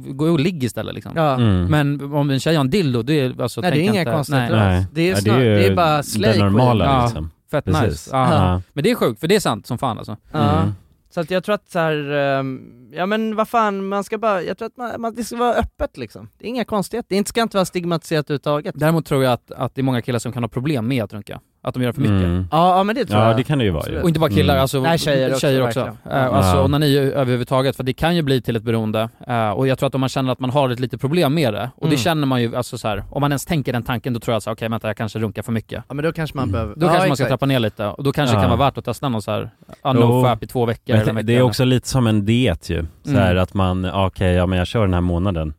S2: Ja, gå och ligg istället liksom.
S1: Ja.
S3: Mm.
S2: Men om en tjej har en dildo, det är alltså...
S1: Nej, det är
S2: tänk
S1: inga
S2: inte,
S1: konstigheter
S2: Nej,
S1: alls. Det är ju snar- det är bara slay
S3: det normala
S2: queen. Ja.
S3: liksom.
S2: fett
S3: Precis.
S2: nice. Ja.
S1: Ja.
S2: Men det är sjukt, för det är sant som fan alltså.
S1: Ja.
S3: Mm.
S1: Så att jag tror att så här, ehm, ja men vad fan, man ska bara, jag tror att man, man, det ska vara öppet liksom. Det är inga konstigheter, det inte- ska inte vara stigmatiserat överhuvudtaget.
S2: Däremot tror jag att, att det är många killar som kan ha problem med att runka. Att de gör för mycket.
S3: Mm.
S1: Ja, ja men det tror
S3: Ja
S1: jag.
S3: det kan det ju vara ju.
S1: Absolut.
S2: Och inte bara killar,
S3: Mm.
S2: alltså
S1: Nej, tjejer också, verkligen.
S2: Eh, Alltså
S3: Ja.
S2: onani ö- överhuvudtaget, för det kan ju bli till ett beroende. Eh, och jag tror att om man känner att man har ett litet problem med det, och
S1: Mm.
S2: det känner man ju, alltså så här, om man ens tänker den tanken, då tror jag så här, okej vänta jag kanske runkar för mycket.
S1: Ja men då kanske man behöver...
S2: Mm. Då
S1: ja,
S2: kanske man ska
S1: exakt.
S2: trappa ner lite, och då kanske det
S3: Ja.
S2: kan vara värt att testa någon så här, ja,
S3: Jo.
S2: no fap i två veckor eller en
S3: Men
S2: vecka
S3: det är
S2: eller-
S3: också lite som en diet ju. Så här
S2: Mm.
S3: att man, ja, okej, ja men jag kör den här månaden.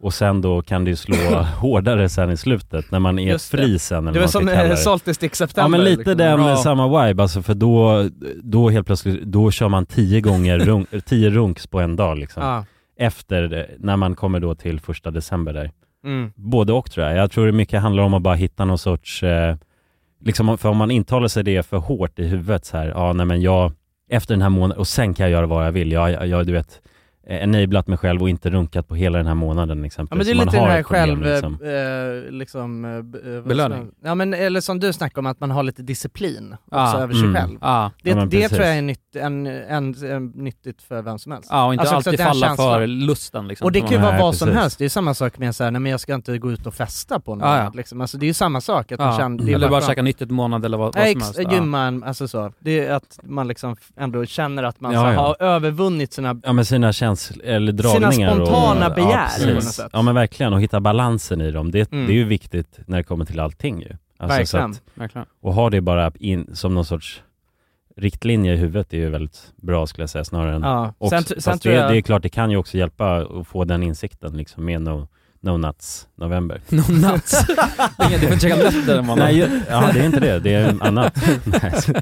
S3: Och sen då kan det
S1: *laughs*
S3: ju slå hårdare sen i slutet när man är
S1: Just det.
S3: fri sen eller
S1: Det
S3: vad
S1: var
S3: man ska
S1: som
S3: kalla
S1: eh,
S3: det.
S1: Salty Stick
S3: Ja
S1: September.
S3: men lite
S1: liksom.
S3: den
S2: Bra.
S3: samma vibe alltså för då, då helt plötsligt, då kör man tio gånger, runk, *laughs* tio runks på en dag liksom.
S1: Ja.
S3: Efter, eh, när man kommer då till första december där.
S1: Mm.
S3: Både och tror jag. Jag tror det mycket handlar om att bara hitta någon sorts, eh, liksom om- för om man intalar sig det för hårt i huvudet så här, ja nej men jag, efter den här månaden, och sen kan jag göra vad jag vill. Jag, jag, jag du vet, eh, enablat mig själv och inte runkat på hela den här månaden liksom.
S1: Ja men det är
S3: Så man
S1: lite den
S3: har
S1: här
S3: ett problem,
S1: själv,
S3: liksom.
S1: eh, liksom eh, b- eh, vad
S2: Belöning.
S1: ska man- Ja men eller som du snackade om, att man har lite disciplin
S2: Ah,
S1: också över sig
S3: mm.
S1: själv.
S2: Ja,
S1: Det,
S3: Ja, men
S1: det
S3: precis.
S1: tror jag är nytt, en, en, en, nyttigt för vem som helst.
S2: ja och inte
S1: Alltså också
S2: alltid
S1: den
S2: falla
S1: känslan.
S2: för lusten liksom.
S1: Och det
S2: som
S1: kan ju
S2: man-
S1: vara
S3: Nej,
S1: vad som
S3: precis. Ah,
S1: helst, det är samma sak med såhär, nej men jag ska inte gå ut och festa på något
S2: Ja, ja.
S1: liksom. Alltså det är ju samma sak, att man
S2: Ja.
S1: känner, det är
S2: Eller bara
S1: skönt.
S2: käka nyttigt månad eller vad, vad
S1: Nej,
S2: som
S1: ex-
S2: helst. Ja.
S1: gymma, en- alltså så. Det är att man liksom f- ändå känner att man
S3: Ja,
S1: så,
S3: ja.
S1: har övervunnit sina...
S3: Ja men sina känslor, eller dragningar
S1: spontana
S3: och,
S1: begär liksom,
S3: ja,
S1: på
S2: något
S3: precis.
S1: sätt.
S3: ja men verkligen, och hitta balansen i dem. Det,
S1: Mm.
S3: det är ju viktigt när det kommer till allting ju. Alltså, så
S1: Verkligen.
S3: att,
S2: Verkligen.
S3: och ha det bara in, som någon sorts riktlinje i huvudet är ju väldigt bra skulle jag säga snarare än...
S1: Ja.
S3: Och,
S1: Sen,
S3: fast
S1: tr- sen
S3: det,
S1: tror jag...
S3: det är klart, det kan ju också hjälpa att få den insikten liksom med No, no Nuts November.
S2: No
S3: *laughs*
S2: nuts. Det är inget- Du får inte käka nötter man.
S3: Nej, ju- ja det är inte det,
S1: *laughs*
S3: det är annat. Nej, så-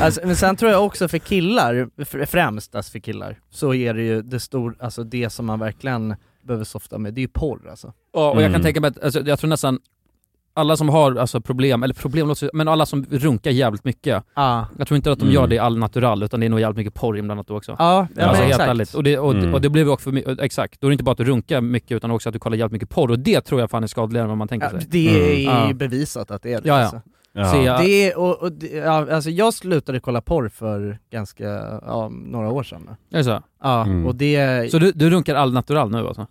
S1: Alltså, men sen tror jag också för killar, fr- främst alltså för killar, så är det ju det stor, alltså det som man verkligen behöver softa med, det är ju porr alltså.
S2: Ja, och jag
S3: Mm.
S2: kan tänka mig att, alltså, jag tror nästan alla som har alltså, problem, eller problem låter så- men alla som runkar jävligt mycket,
S1: Ja,
S2: jag tror inte att de
S3: Mm.
S2: gör det all natural utan det är nog jävligt mycket porr inblandat då också.
S1: ja,
S3: men
S2: alltså,
S1: exakt.
S2: helt ärligt. Och det, och,
S3: Mm.
S2: och det blir ju också för, my- exakt, då är det inte bara att du runkar mycket utan också att du kollar jävligt mycket porr och det tror jag fan är skadligare än vad man tänker
S1: Ja,
S2: sig.
S1: det är
S2: Mm.
S1: ju
S2: Ja.
S1: bevisat att det är det
S2: Ja, ja.
S1: Alltså.
S3: Ja.
S2: Se, jag-
S1: Det är, och, och, det- ja, alltså jag slutade kolla porr för ganska, ja, några år sedan.
S2: är det så?
S1: Ja,
S3: Mm.
S1: och det,
S2: Så du, du runkar all natural nu alltså?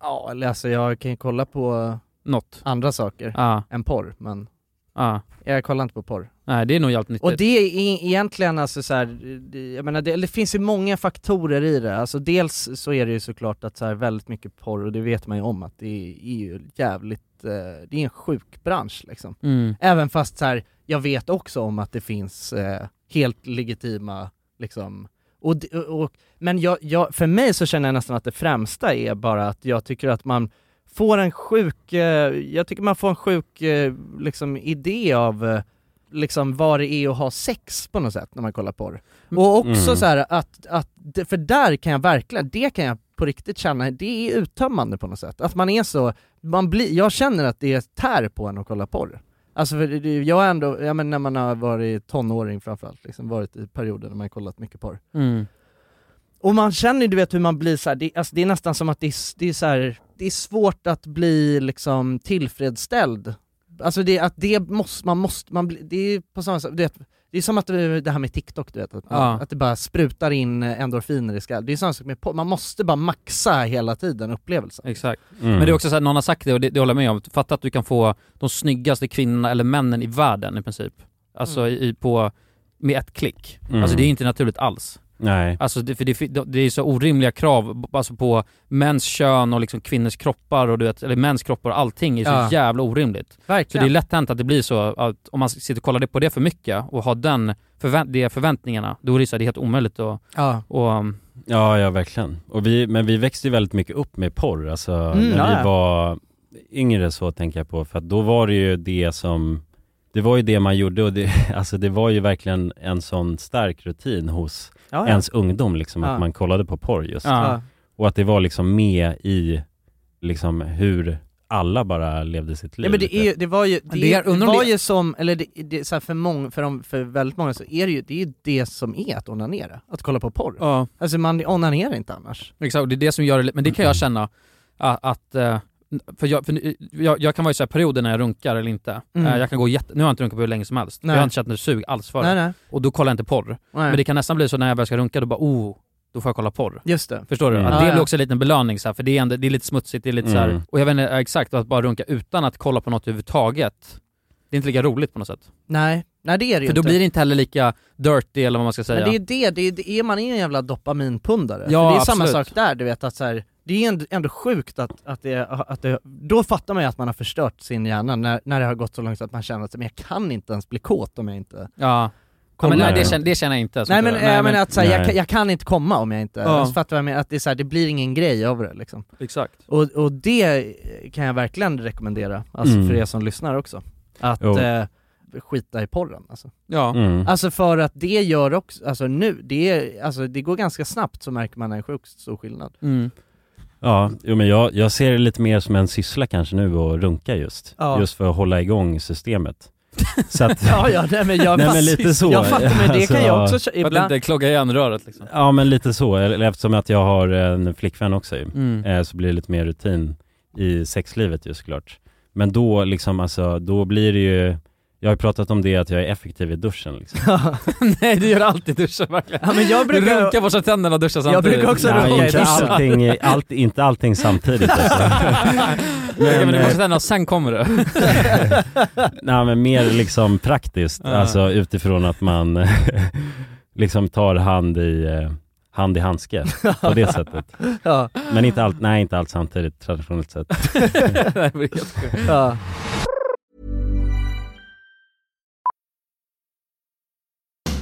S1: ja eller alltså jag kan ju kolla på
S2: Något?
S1: andra saker
S2: Ja,
S1: än porr, men
S2: ja.
S1: jag kollar inte på porr.
S2: Nej det är nog jävligt nyttigt.
S1: Och det är e- egentligen alltså så här, det- jag menar det, eller det finns ju många faktorer i det. Alltså dels så är det ju såklart att så här väldigt mycket porr, och det vet man ju om att det är ju jävligt, eh, det är en sjuk bransch liksom.
S2: Mm.
S1: Även fast så här, jag vet också om att det finns eh, helt legitima liksom Och, d- och, och, men jag, jag, för mig så känner jag nästan att det främsta är bara att jag tycker att man får en sjuk, eh, jag tycker man får en sjuk eh, liksom, idé av eh, liksom vad det är att ha sex på något sätt när man kollar på det. Och också
S3: Mm.
S1: så här att, att, det- för där kan jag verkligen, det kan jag på riktigt känna, det är uttömmande på något sätt. Att man är så, man blir, jag känner att det tär på en att kolla porr. Alltså för det- det- jag har ändå, ja men när man har varit tonåring framförallt, liksom varit i perioder när man kollat mycket porr.
S2: Mm.
S1: Och man känner ju du vet hur man blir så här, det, alltså det är nästan som att det är, s- det är så här, det är svårt att bli liksom tillfredsställd. Alltså det, att det måste, man måste, man bli, det är på samma sätt, du vet, det är som att det, det här med TikTok du vet, att, man,
S2: Ja.
S1: att det bara sprutar in endorfiner i skallen. Det är samma sak med porr. man måste bara maxa hela tiden upplevelsen.
S2: Exakt.
S3: Mm.
S2: Men det är också såhär, någon har sagt det och det, det håller jag med om. Fatta att du kan få de snyggaste kvinnorna eller männen i världen i princip. Alltså i, i- på, med ett klick.
S3: Mm.
S2: Alltså det är inte naturligt alls.
S3: Nej.
S2: Alltså det, för det, fi- det är så orimliga krav b- alltså på mäns kön och liksom kvinnors kroppar och du vet, eller mäns kroppar och allting är så
S1: Ja.
S2: jävla orimligt. Så det är
S1: Verkligen.
S2: lätt hänt att det blir så att om man sitter och kollar det- på det för mycket och har den förvä- de förväntningarna, då är det, så här, det är helt omöjligt att...
S1: ja.
S2: Och, um,
S3: Ja, ja verkligen. Och vi, men vi växte ju väldigt mycket upp med porr, alltså när
S1: Mm, ja, ja.
S3: vi var yngre så tänker jag på, för att då var det ju det som, det var ju det man gjorde och det, *laughs* alltså det var ju verkligen en sån stark rutin hos
S1: Ja,
S3: ens ungdom liksom,
S1: Ja.
S3: att man kollade på porr just.
S2: Ja.
S3: Och att det var liksom med i liksom hur alla bara levde sitt liv. typ.
S1: Ja, men det, är, ju- det var ju, det,
S2: Det är-
S1: det
S2: undrar om
S1: var
S2: det-
S1: ju som, eller det, det, så här för, många, för, de, för väldigt många så är det ju det, är ju det som är att onanera, att kolla på porr.
S2: ja.
S1: Alltså man onanerar inte annars.
S2: Exakt, och det är det som gör det, men det kan jag känna a- att, eh, för, jag, för nu- jag, jag kan vara i så här perioder när jag runkar eller inte.
S1: Mm.
S2: Eh, Jag kan gå jätte, nu har jag inte runkat på hur länge som helst,
S1: Nej.
S2: jag har inte känt något sug alls för
S1: Nej
S2: det.
S1: nej.
S2: Och då kollar jag inte porr.
S1: nej.
S2: Men det kan nästan bli så när jag väl ska runka, då bara oh, då får jag kolla porr.
S1: Just det.
S2: Förstår du?
S3: Mm.
S2: Att
S1: Ja,
S2: det blir
S1: ja.
S2: också en liten belöning så här, för det är, ändå, det är lite smutsigt, det är lite så här,
S3: Mm.
S2: och jag vet inte ja, exakt, att bara runka utan att kolla på något överhuvudtaget, det är inte lika roligt på något sätt.
S1: Nej, nej det är det ju
S2: För då
S1: inte.
S2: blir det inte heller lika dirty eller vad man ska säga.
S1: Men det är ju det, det är, det är, man är en jävla dopaminpundare.
S2: Ja,
S1: För det är samma
S2: absolut.
S1: sak där, du vet att så här, det är änd- ändå sjukt att, att, det, att det, då fattar man ju att man har förstört sin hjärna när, när det har gått så långt så att man känner att men jag kan inte ens bli kåt om jag inte
S2: Ja. Ja,
S1: kollar.
S2: men nej,
S3: här.
S2: det, känner, det känner jag inte. så
S1: Nej
S2: tror
S1: men, eh,
S2: jag.
S1: jag menar att så här, jag,
S3: Nej.
S1: kan- jag kan inte komma om jag inte,
S2: Ja.
S1: alltså, fattar du vad jag menar? Att det, är så här, det blir ingen grej av det liksom.
S2: Exakt.
S1: Och, och det kan jag verkligen rekommendera, alltså
S3: Mm.
S1: för er som lyssnar också. Att
S3: Jo.
S1: eh, skita i porren alltså.
S2: Ja.
S3: Mm.
S1: Alltså för att det gör också, alltså nu, det, är, alltså det går ganska snabbt så märker man en sjukt stor skillnad.
S2: Mm.
S3: Ja, jo, men jag, jag ser det lite mer som en syssla kanske nu och runka just.
S1: Ja.
S3: Just för att hålla
S1: *laughs*
S3: igång systemet. Så att,
S1: *laughs* Ja ja, nej men jag,
S3: *laughs* Nej,
S1: fast-
S3: men lite så.
S1: jag fattar, men det kan jag
S3: Alltså,
S1: också kä-
S2: För att
S1: ibland.
S2: inte klogga igen röret liksom.
S3: Ja men lite så, eller eftersom att jag har en flickvän också ju, eh,
S1: Mm.
S3: så blir det lite mer rutin i sexlivet ju såklart. Men då liksom alltså, då blir det ju, jag har ju pratat om det att jag är effektiv i duschen liksom.
S2: *laughs* Nej du gör alltid duschen verkligen.
S1: Ja men jag
S2: Du
S1: brukar,
S2: runkar, borstar tänderna och duschar
S1: Jag
S2: samtidigt.
S1: brukar också Så runka i
S3: Nej, inte,
S1: duschen.
S2: *laughs*
S3: allting, allt, inte allting
S1: *laughs*
S3: samtidigt alltså.
S2: men, ja, men du
S3: eh,
S2: borstar tänderna och sen kommer du. *laughs*
S3: Nej men mer liksom praktiskt,
S2: Ja.
S3: alltså utifrån att man *laughs* liksom tar hand i, eh, hand i handske på det sättet.
S1: *laughs* ja,
S3: Men inte allt, nej inte allt samtidigt traditionellt sett.
S2: Nej, men det är helt sjukt.
S1: ja.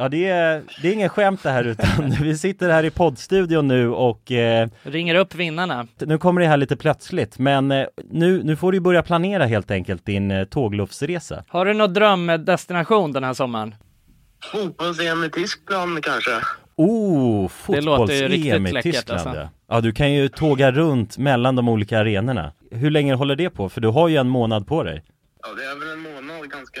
S3: Ja, det är, det är ingen skämt det
S1: *laughs*
S3: här utan vi sitter här i poddstudion nu och eh,
S1: Ringer upp vinnarna.
S3: nu kommer det här lite plötsligt men eh, nu, nu får du börja planera helt enkelt din eh, tågluffsresa.
S1: Har du någon drömdestination den här sommaren?
S9: Fotbolls-EM i Tyskland kanske?
S3: Oh,
S1: Det låter ju
S3: fotbolls-EM
S1: riktigt
S3: i
S1: läckert,
S3: Tyskland
S1: alltså.
S3: ja. ja, du kan ju tåga runt mellan de olika arenorna. Hur länge håller det på? För du har ju en månad på dig.
S9: Ja, det är väl en månad ganska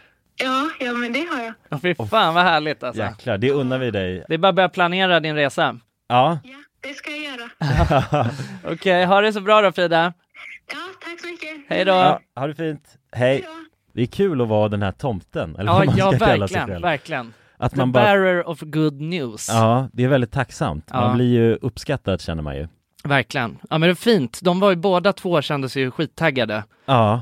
S10: Ja, ja, men det har jag.
S1: Ja. Fy fan vad härligt alltså.
S3: Jäklar, det unnar vi dig.
S1: Det är bara att börja planera din resa.
S3: Ja.
S10: Det ska jag göra.
S1: Okej, ha det så bra då Frida.
S10: Ja, tack så mycket.
S1: Hej då.
S3: ja, ha det fint. Hej. Det är kul att vara den här tomten, eller
S1: Ja,
S3: vad man
S1: ja
S3: ska kalla sig
S1: verkligen,
S3: själv.
S1: verkligen.
S3: Att
S1: The
S3: man bara-
S1: bearer of good news.
S3: Ja, det är väldigt tacksamt.
S1: Ja.
S3: Man blir ju uppskattad känner man ju.
S1: Verkligen. Ja men det är fint. De var ju båda två kände sig ju skittaggade
S3: Ja,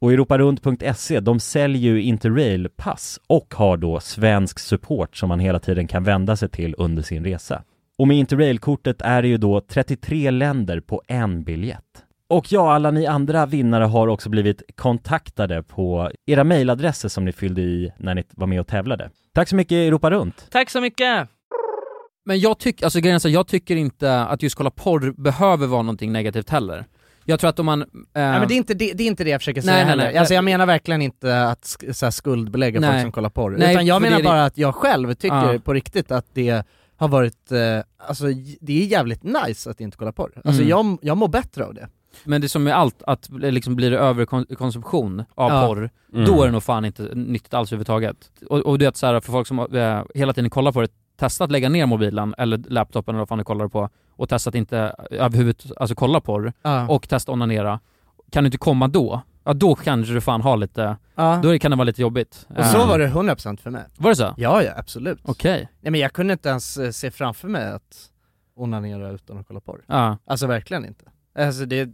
S3: Och europarunt.se, E, de säljer ju Interrail-pass och har då svensk support som man hela tiden kan vända sig till under sin resa. Och med Interrail-kortet är det ju då 33 länder på en biljett. Och ja, alla ni andra vinnare har också blivit kontaktade på era mejladresser som ni fyllde i när ni var med och tävlade. Tack så mycket Europa Runt!
S1: Tack så mycket!
S2: Men jag tycker, alltså grejen är så här, jag tycker inte att just kolla porr behöver vara någonting negativt heller. Jag tror att om man... eh,
S7: Nej men det är, inte det, det är inte det jag försöker säga
S2: Nej, nej,
S7: heller.
S2: nej.
S7: Alltså jag menar verkligen inte att sk- så här, skuldbelägga
S2: Nej.
S7: folk som kollar porr.
S2: Nej,
S7: Utan jag
S2: för
S7: menar
S2: det är det-
S7: bara att jag själv tycker
S2: Ja.
S7: på riktigt att det har varit, eh, alltså j- det är jävligt nice att inte kolla porr. Alltså
S2: Mm.
S7: jag, jag mår bättre av det.
S2: Men det är som med allt, att liksom blir det överkonsumtion av
S7: Ja.
S2: porr,
S7: Mm.
S2: då är det nog fan inte nyttigt alls överhuvudtaget. Och, och du vet såhär, för folk som eh, hela tiden kollar på det, testa att lägga ner mobilen eller laptopen eller vad fan du kollar på och testa att inte överhuvudtaget, alltså kolla porr
S1: Ja.
S2: och testa onanera. Kan du inte komma då? Ja då kanske du fan har lite,
S1: Ja.
S2: då kan det vara lite jobbigt. Eh,
S1: Och så var det 100% för mig.
S2: Var det så?
S1: Ja, ja absolut.
S2: Okej.
S1: Nej men jag kunde inte ens eh, se framför mig att onanera utan att kolla porr.
S2: Ja.
S1: Alltså verkligen inte. Alltså det,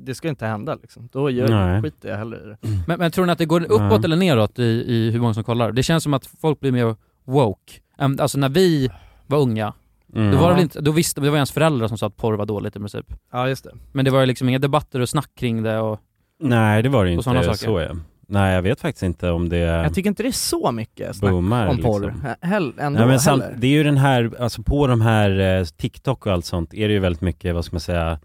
S1: det ska inte hända liksom. Då gör
S2: Nej.
S1: skiter jag hellre i det.
S2: Men, men tror ni att det går uppåt
S1: Nej.
S2: eller neråt i, i hur många som kollar? Det känns som att folk blir mer woke. Äm, Alltså när vi var unga,
S3: Mm.
S2: då var det
S3: Ja.
S2: väl inte, då visste, det var ju ens föräldrar som sa att porr var dåligt i princip.
S1: Ja just det.
S2: Men det var ju liksom inga debatter och snack kring det och...
S3: Nej det var det
S2: Och sådana
S3: inte,
S2: saker.
S3: så är Nej jag vet faktiskt inte om det...
S1: Jag tycker inte det är så mycket snack
S3: Boomar,
S1: om porr
S3: liksom.
S1: he- hell, ändå
S3: Nej, men samt,
S1: heller.
S3: det är ju den här, alltså på de här eh, TikTok och allt sånt är det ju väldigt mycket, vad ska man säga,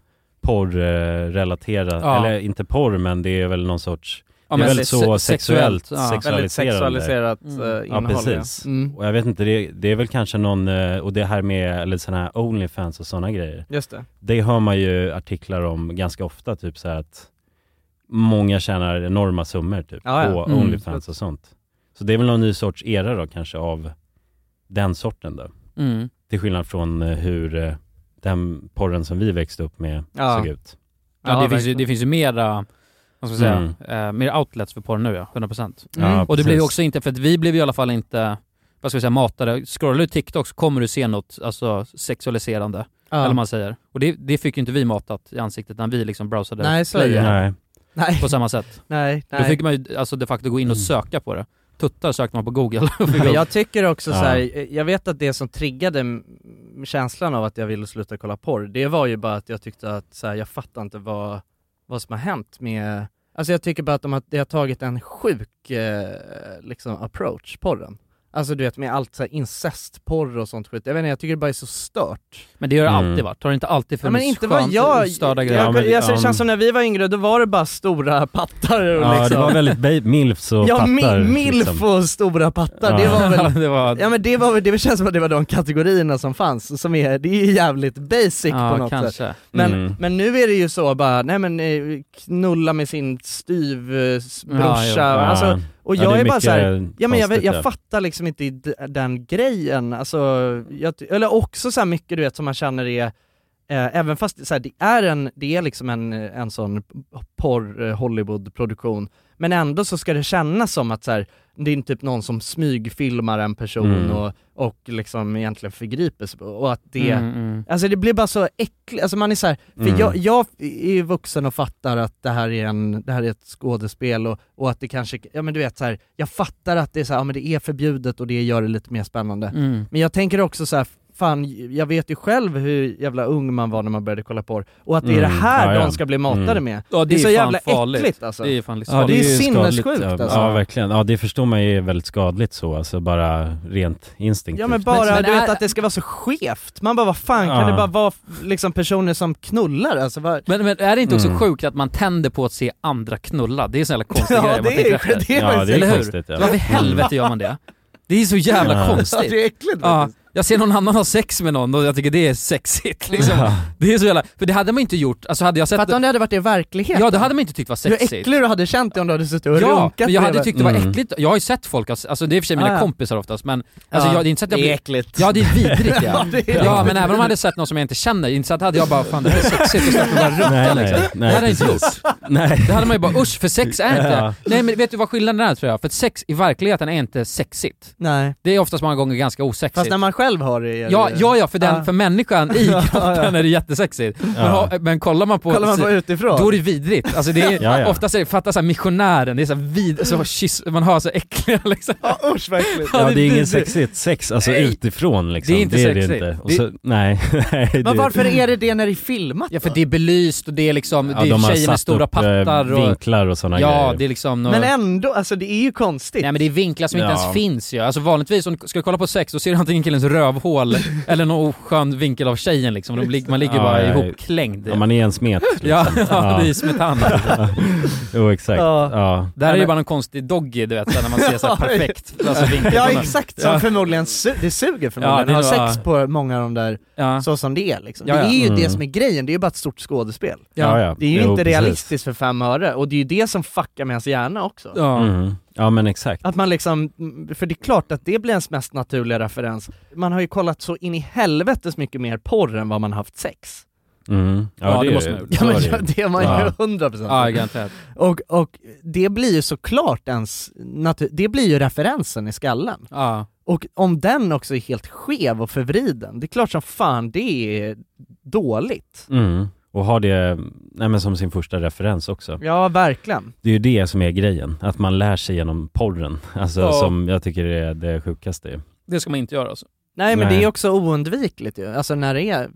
S3: porrrelaterat,
S2: Ja.
S3: eller inte porr men det är väl någon sorts
S2: Ja,
S3: det
S2: men
S3: är väl
S2: se-
S3: så
S2: se-
S3: sexuellt,
S2: sexuellt, ja. Väldigt
S3: sexualiserande.
S1: sexualiserat, eh, Mm.
S3: Ja
S1: innehåll, ja.
S3: precis.
S1: Mm.
S3: Och jag vet inte, det, det är väl kanske någon, eh, och det här med eller sådana här Onlyfans och sådana grejer.
S1: Just det.
S3: Det hör man ju artiklar om ganska ofta, typ så här att många tjänar enorma summor typ
S1: Ja, ja.
S3: på
S1: Mm.
S3: Onlyfans och sånt. Så det är väl någon ny sorts era då kanske av den sorten då.
S2: Mm.
S3: Till skillnad från eh, hur eh, den porren som vi växte upp med
S2: Ja.
S3: såg ut.
S2: Ja, det, finns ju, det finns ju mera, vad ska jag
S3: Mm.
S2: säga, eh, mer outlets för porr nu ja, 100%.
S1: Mm.
S3: Ja,
S2: och det blev ju
S3: precis.
S2: också inte, för att vi blev ju i alla fall inte, vad ska jag säga, matade. Scrollar du TikTok så kommer du se något alltså, sexualiserande,
S1: Ja.
S2: eller vad man säger. Och det, det fick ju inte vi matat i ansiktet när vi liksom browsade
S1: Nej, så är det.
S2: player.
S1: Nej.
S2: på samma sätt.
S1: Nej,
S2: Då
S1: nej.
S2: fick man ju alltså, de facto gå in
S3: Mm.
S2: och söka på det. Tuttar sökte man på *laughs* google. och fick
S1: Men
S2: upp.
S1: jag tycker också
S2: Ja.
S1: så här, eh, jag vet att det som triggade m- känslan av att jag ville sluta kolla porr, det var ju bara att jag tyckte att så här, jag fattar inte vad, vad som har hänt med, alltså jag tycker bara att de har, det har tagit en sjuk eh, liksom approach, porren. Alltså du vet med allt så här incestporr och sånt skit, jag vet inte, jag tycker det bara är så stört.
S2: Men det har det
S3: Mm.
S2: alltid varit, har det inte alltid
S1: Ja, men
S2: funnits
S1: inte vad
S2: skönt,
S1: jag,
S2: störda
S1: jag,
S2: grejer?
S1: jag, alltså, det känns som när vi var yngre, då var det bara stora pattar och
S3: Ja,
S1: liksom.
S3: det var väldigt ba- milfs och
S1: Ja, mi-
S3: pattar.
S1: milf
S3: liksom.
S1: och stora pattar,
S3: Ja.
S1: det var väl
S2: *laughs* det var...
S1: Ja men det var väl, det känns som att det var de kategorierna som fanns, som är, det är ju jävligt basic på
S2: Ja,
S1: något sätt.
S2: kanske.
S1: Men,
S2: Mm.
S1: men nu är det ju så bara, nej men eh, knulla med sin eh. styvbrorsa,
S2: Ja, ja.
S1: alltså, och
S3: Ja,
S1: jag
S3: det
S1: är,
S3: är
S1: bara
S3: mycket
S1: så här, ja men jag,
S3: konstigt
S1: jag
S3: där.
S1: fattar liksom inte i d- den grejen, alltså, jag, ty- eller också så här mycket du vet som man känner är Eh, även fast så här, det är, en, det är liksom en, eh, en sån porr eh, Hollywood-produktion, men ändå så ska det kännas som att så här, det är typ någon som smygfilmar en person
S3: Mm.
S1: och, och liksom egentligen förgriper sig på- och att det,
S2: Mm, mm.
S1: alltså det blir bara så äckligt, alltså man är så här, för
S3: Mm.
S1: jag, jag är ju vuxen och fattar att det här är, en, det här är ett skådespel och, och att det kanske, ja men du vet så här, jag fattar att det är så här, ja, men det är förbjudet och det gör det lite mer spännande.
S2: Mm.
S1: Men jag tänker också så här, fan jag vet ju själv hur jävla ung man var när man började kolla porr och att det är det
S3: Mm,
S1: här
S3: ja, ja.
S1: de ska bli matade
S3: Mm.
S1: med.
S2: Ja, det
S1: är
S2: är
S1: så
S2: fan
S1: jävla
S2: farligt.
S1: äckligt alltså.
S2: Det är fan lite
S3: Ja,
S1: det är
S3: ju
S1: sinnessjukt
S3: skadligt, ja.
S1: alltså.
S3: Ja verkligen, ja det förstår man ju är väldigt skadligt så, alltså bara rent instinktivt.
S1: Ja men bara,
S2: Men- men
S1: du vet
S2: är-
S1: att det ska vara så skevt. Man bara vad fan kan
S3: Ja.
S1: det bara vara f- liksom personer som knullar alltså? Vad...
S2: Men, men är det inte också
S3: Mm.
S2: sjukt att man tänder på att se andra knulla? Det är
S1: *laughs*
S2: en sån jävla konstig
S1: Ja,
S2: grej man
S1: det är-
S2: tänker efter.
S1: det är Ja, faktiskt-
S3: det är
S2: Eller hur?
S3: konstigt, ja. Mm.
S2: Varför i helvete gör man det? Det är så jävla
S3: Ja.
S1: Ja,
S2: konstigt.
S1: det är äckligt
S2: Ja,
S1: faktiskt.
S2: jag ser någon annan ha sex med någon och jag tycker det är sexigt liksom.
S3: Ja.
S2: Det är så jävla, för det hade man inte gjort, alltså hade jag sett
S1: Fattar om det hade varit det i verkligheten?
S2: Ja det hade man inte tyckt var
S1: Hur
S2: sexigt.
S1: äcklig du hade känt dig om du hade suttit och
S2: Ja,
S1: runkat
S2: men jag hade
S1: bredvid.
S2: tyckt det var
S3: Mm.
S2: äckligt. Jag har ju sett folk, ha- alltså det är i och för sig mina
S1: Ah, ja.
S2: kompisar oftast men alltså,
S1: Ja,
S2: jag, det är inte så att jag
S1: det är
S2: blir-
S1: äckligt.
S2: Ja det är vidrigt
S1: *laughs* Ja,
S2: ja.
S1: det är
S2: ja
S1: vidrigt.
S2: men även om jag hade sett någon som jag inte känner, inte så att hade jag bara fan det här är sexigt och släppt och bara runka
S3: Nej, nej,
S2: liksom.
S3: nej,
S2: det hade jag inte gjort.
S3: precis. Nej.
S2: Det hade man ju bara usch för sex är inte...
S3: Ja.
S2: Nej men vet du vad skillnaden är tror jag? För att sex i verkligheten är inte sexigt.
S1: Nej,
S2: Det är oftast många gånger ganska osexigt.
S1: fast när man själv har det är det-
S2: Ja, ja, ja för, den,
S1: *laughs* Ja.
S2: för människan i kroppen är det jättesexigt. Men,
S3: Ja.
S2: ha- men kollar man på...
S1: Kollar man på utifrån?
S2: Alltså,
S3: *laughs*
S2: Då är det vidrigt. Alltså det är,
S3: Ja, ja.
S2: oftast är det, fatta såhär missionären, det är såhär vid, så kyss, man har så äckliga *laughs* liksom.
S1: Ja usch vad äckligt.
S3: Ja det är
S2: vidrigt.
S3: ingen sexigt sex, alltså utifrån liksom.
S2: Det är inte sexigt.
S3: Och så, nej. *laughs* nej,
S1: Men
S3: det-
S1: varför är det det när det är filmat
S2: Ja för det är belyst och det är liksom,
S3: Ja,
S2: det är
S3: de har
S2: tjejer med
S3: satt
S2: stora
S3: upp, eh,
S2: pattar och...
S3: vinklar och sådana
S2: Ja,
S3: grejer.
S2: det är liksom...
S1: Men ändå, alltså det är ju konstigt.
S2: Nej men det är vinklar som inte
S3: Ja.
S2: ens finns ju. Alltså vanligtvis om du ska kolla på sex då ser du antingen killens
S3: *laughs*
S2: rövhål eller någon oskön vinkel av tjejen liksom. De, lig- man ligger
S3: Ja,
S2: bara
S3: ja, ja.
S2: ihopklängd.
S3: Ja, man är en smet liksom.
S2: Ja, ja, *laughs* det är
S3: *laughs*
S2: smetan.
S3: Jo exakt,
S1: Ja.
S3: ja.
S2: Där är det bara någon konstig doggy du vet, när man ser
S1: *laughs*
S2: så här perfekt alltså, vinkel.
S1: Ja
S2: på den.
S1: exakt, som
S2: Ja.
S1: förmodligen, su- det suger förmodligen
S2: Ja, det
S1: att
S2: är-
S1: ha sex på många av de där,
S2: Ja.
S1: så som det är liksom.
S2: Ja,
S1: Det
S2: ja.
S1: är ju det
S3: Mm.
S1: som är grejen, det är ju bara ett stort skådespel.
S2: Ja.
S3: ja.
S1: Det är ju
S3: Jo,
S1: inte
S3: precis.
S1: realistiskt för fem öre, och det är ju det som fuckar med ens hjärna också.
S2: Ja.
S3: Mm. Ja men exakt.
S1: Att man liksom, för det är klart att det blir ens mest naturliga referens. Man har ju kollat så in i helvetes mycket mer porr än vad man haft sex.
S3: Mm. Ja,
S2: Ja, det
S3: är
S2: måste
S3: ju-
S2: man ju-
S1: Ja
S3: så
S1: men
S3: är
S1: ja, det är man ju
S3: Ja.
S1: hundra procent.
S2: Ja, garanterat.
S1: Och, och det blir ju såklart ens, natu- det blir ju referensen i skallen.
S2: Ja.
S1: Och om den också är helt skev och förvriden, det är klart som fan det är dåligt.
S3: Mm. Och har det nej, men som sin första referens också.
S1: Ja, verkligen.
S3: Det är ju det som är grejen, att man lär sig genom porren. Alltså
S2: Ja.
S3: som jag tycker är det sjukaste ju.
S2: Det ska man inte göra alltså.
S1: Nej men
S3: Nej.
S1: det är också oundvikligt ju, alltså när det är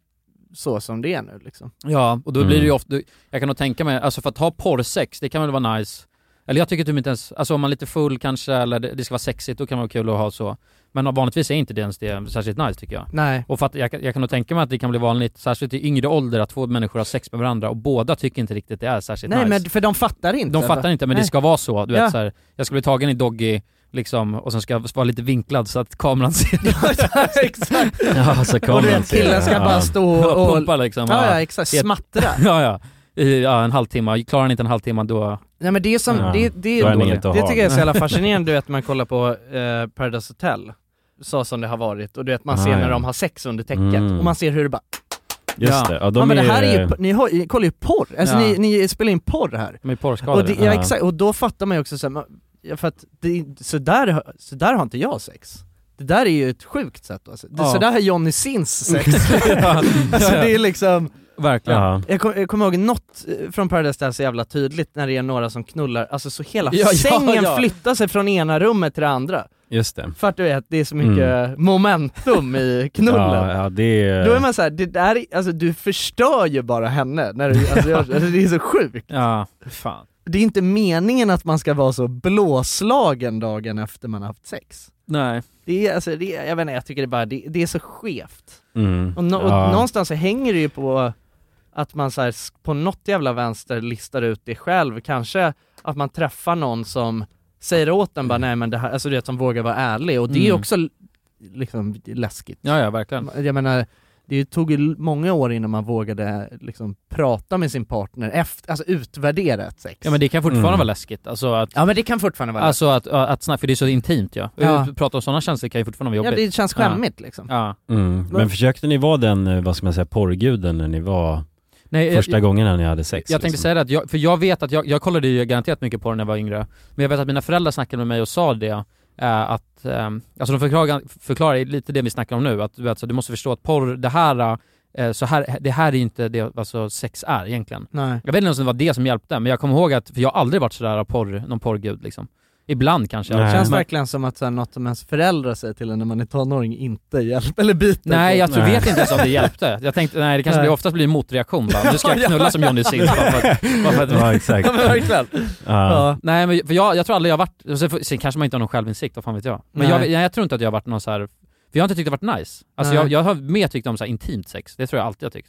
S1: så som det är nu liksom.
S2: Ja, och då blir
S3: Mm.
S2: det ju ofta, jag kan nog tänka mig, alltså för att ha porrsex, det kan väl vara nice. Eller jag tycker typ inte ens, alltså om man är lite full kanske, eller det, det ska vara sexigt, då kan det vara kul att ha så. Men vanligtvis är inte det ens det särskilt nice tycker jag.
S1: Nej.
S2: Och för att jag, kan- jag kan nog tänka mig att det kan bli vanligt, särskilt i yngre ålder, att två människor har sex med varandra och båda tycker inte riktigt det är särskilt
S1: Nej
S2: nice.
S1: men för de fattar inte.
S2: De fattar inte men
S1: Nej.
S2: det ska vara så, du
S1: Ja.
S2: vet så här, jag ska bli tagen i doggy liksom, och sen ska jag vara lite vinklad så att
S1: *laughs*
S2: kameran ser...
S1: Exakt.
S3: *laughs* Ja, så
S1: Och
S3: kommer
S1: du
S3: man
S1: vet
S3: till det.
S1: killen ska
S3: ja.
S1: bara stå *laughs* och...
S2: *laughs* och pumpa liksom.
S1: Ja, ja exakt,
S2: Det-
S1: smattra.
S2: *laughs* ja, ja. I, ja, en halvtimme. Klarar han inte en halvtimme då...
S1: Nej men det är som,
S3: Ja,
S1: det, det
S3: då
S1: är
S3: är ni
S1: dåligt.
S3: inte
S1: Det
S3: att ha.
S1: tycker jag är så
S3: *laughs*
S1: jävla fascinerande, du vet man kollar på eh, Paradise Hotel, så som det har varit, och du vet man
S3: Ah,
S1: ser när
S3: ja.
S1: de har sex under täcket,
S3: Mm.
S1: och man ser hur det bara,
S3: Just
S2: Ja.
S3: det, ja, de
S1: ja men det
S3: är,
S1: här är ju, ni, har, ni kollar ju porr, alltså
S2: Ja.
S1: ni, ni spelar in porr här.
S2: De är
S1: Och,
S2: porrskadade.
S1: det, ja,
S3: Ja.
S1: exakt, och då fattar man ju också så här, man- ja, för att det, så, där, har- så där har inte jag sex. Det där är ju ett sjukt sätt alltså. Det,
S2: Ja.
S1: Så där har Johnny Sins sex.
S2: ja,
S1: alltså
S2: *laughs* ja,
S1: det är liksom,
S2: Verkligen.
S3: ja.
S1: jag, kom, jag kommer ihåg något eh, från Paradise Hotel så jävla tydligt när det är några som knullar, alltså så hela
S2: Ja, ja,
S1: sängen
S2: ja.
S1: flyttar sig från ena rummet till det andra.
S3: Just det.
S1: För att du vet, det är så mycket momentum i knullen.
S3: Mm. Ja, ja, det är...
S1: Då är man såhär, det där, är- alltså du förstör ju bara henne när du, alltså, gör så. alltså, det är så sjukt.
S2: Ja, fan.
S1: Det är inte meningen att man ska vara så blåslagen dagen efter man har haft sex.
S2: Nej.
S1: Det är, alltså, det är, jag vet inte, jag tycker det bara, det, det är så skevt.
S3: mm.
S1: Och, nå- och
S3: Ja.
S1: någonstans så hänger det ju på att man så här, s- på något jävla vänster listar ut det själv, kanske att man träffar någon som säger åt en bara nej men det här, alltså du vet som vågar vara ärlig och det är ju
S2: Mm.
S1: också l- liksom läskigt.
S2: Ja, ja, verkligen.
S1: Jag menar, det tog ju l- många år innan man vågade liksom prata med sin partner, efter, alltså utvärdera ett sex.
S2: Ja, men det kan fortfarande
S3: Mm.
S2: vara läskigt. Alltså att...
S1: Ja, men det kan fortfarande vara
S2: Alltså att, att snacka, för det är så intimt ja.
S1: Ja.
S2: Prata om sådana känslor kan ju fortfarande vara
S1: läskigt. Ja,
S2: jobbigt.
S1: det känns skämmigt liksom.
S2: Ja.
S3: Mm. Men försökte ni vara den, eh, vad ska man säga, porrguden när ni var
S2: Nej,
S1: Eh,
S2: jag-
S3: första gången när ni hade sex?
S2: Jag tänkte
S3: liksom?
S2: säga det, att jag, för jag vet att jag, jag kollade ju garanterat mycket på det när jag var yngre, men jag vet att mina föräldrar snackade med mig och sa det, eh, att, eh, alltså de förklarar, förklarar lite det vi snackar om nu, att du, vet, så du måste förstå att porr, det här, eh, så här, det här är ju inte det alltså, sex är egentligen.
S1: Nej.
S2: Jag vet inte ens om det var det som hjälpte, men jag kommer ihåg att, för jag har aldrig varit sådär porr, någon porrgud liksom. Ibland kanske.
S3: Nej.
S1: Det känns
S2: men-
S1: verkligen som att så här, något som ens föräldrar säger till en när man är tonåring inte hjälper, eller biter
S2: Nej
S1: på.
S2: jag tror,
S3: Nej.
S2: vet inte ens om det hjälpte. Jag tänkte, nej det kanske
S1: Nej.
S2: blir, oftast blir en motreaktion bara. Nu ska
S3: *laughs*
S2: jag knulla som Johnny Sins. bara för att- bara för att-
S1: *laughs*
S3: Ja, exakt.
S1: verkligen.
S3: Ja.
S1: Ja.
S2: Nej men för jag, jag tror aldrig jag har varit, sen, får- sen kanske man inte har någon självinsikt, vad fan vet jag. Men
S1: Nej.
S2: jag, jag, jag tror inte att jag har varit någon så här. för jag har inte tyckt det varit nice. Alltså
S1: Nej.
S2: jag, jag har mer tyckt om så här intimt sex, det tror jag alltid jag tyckt.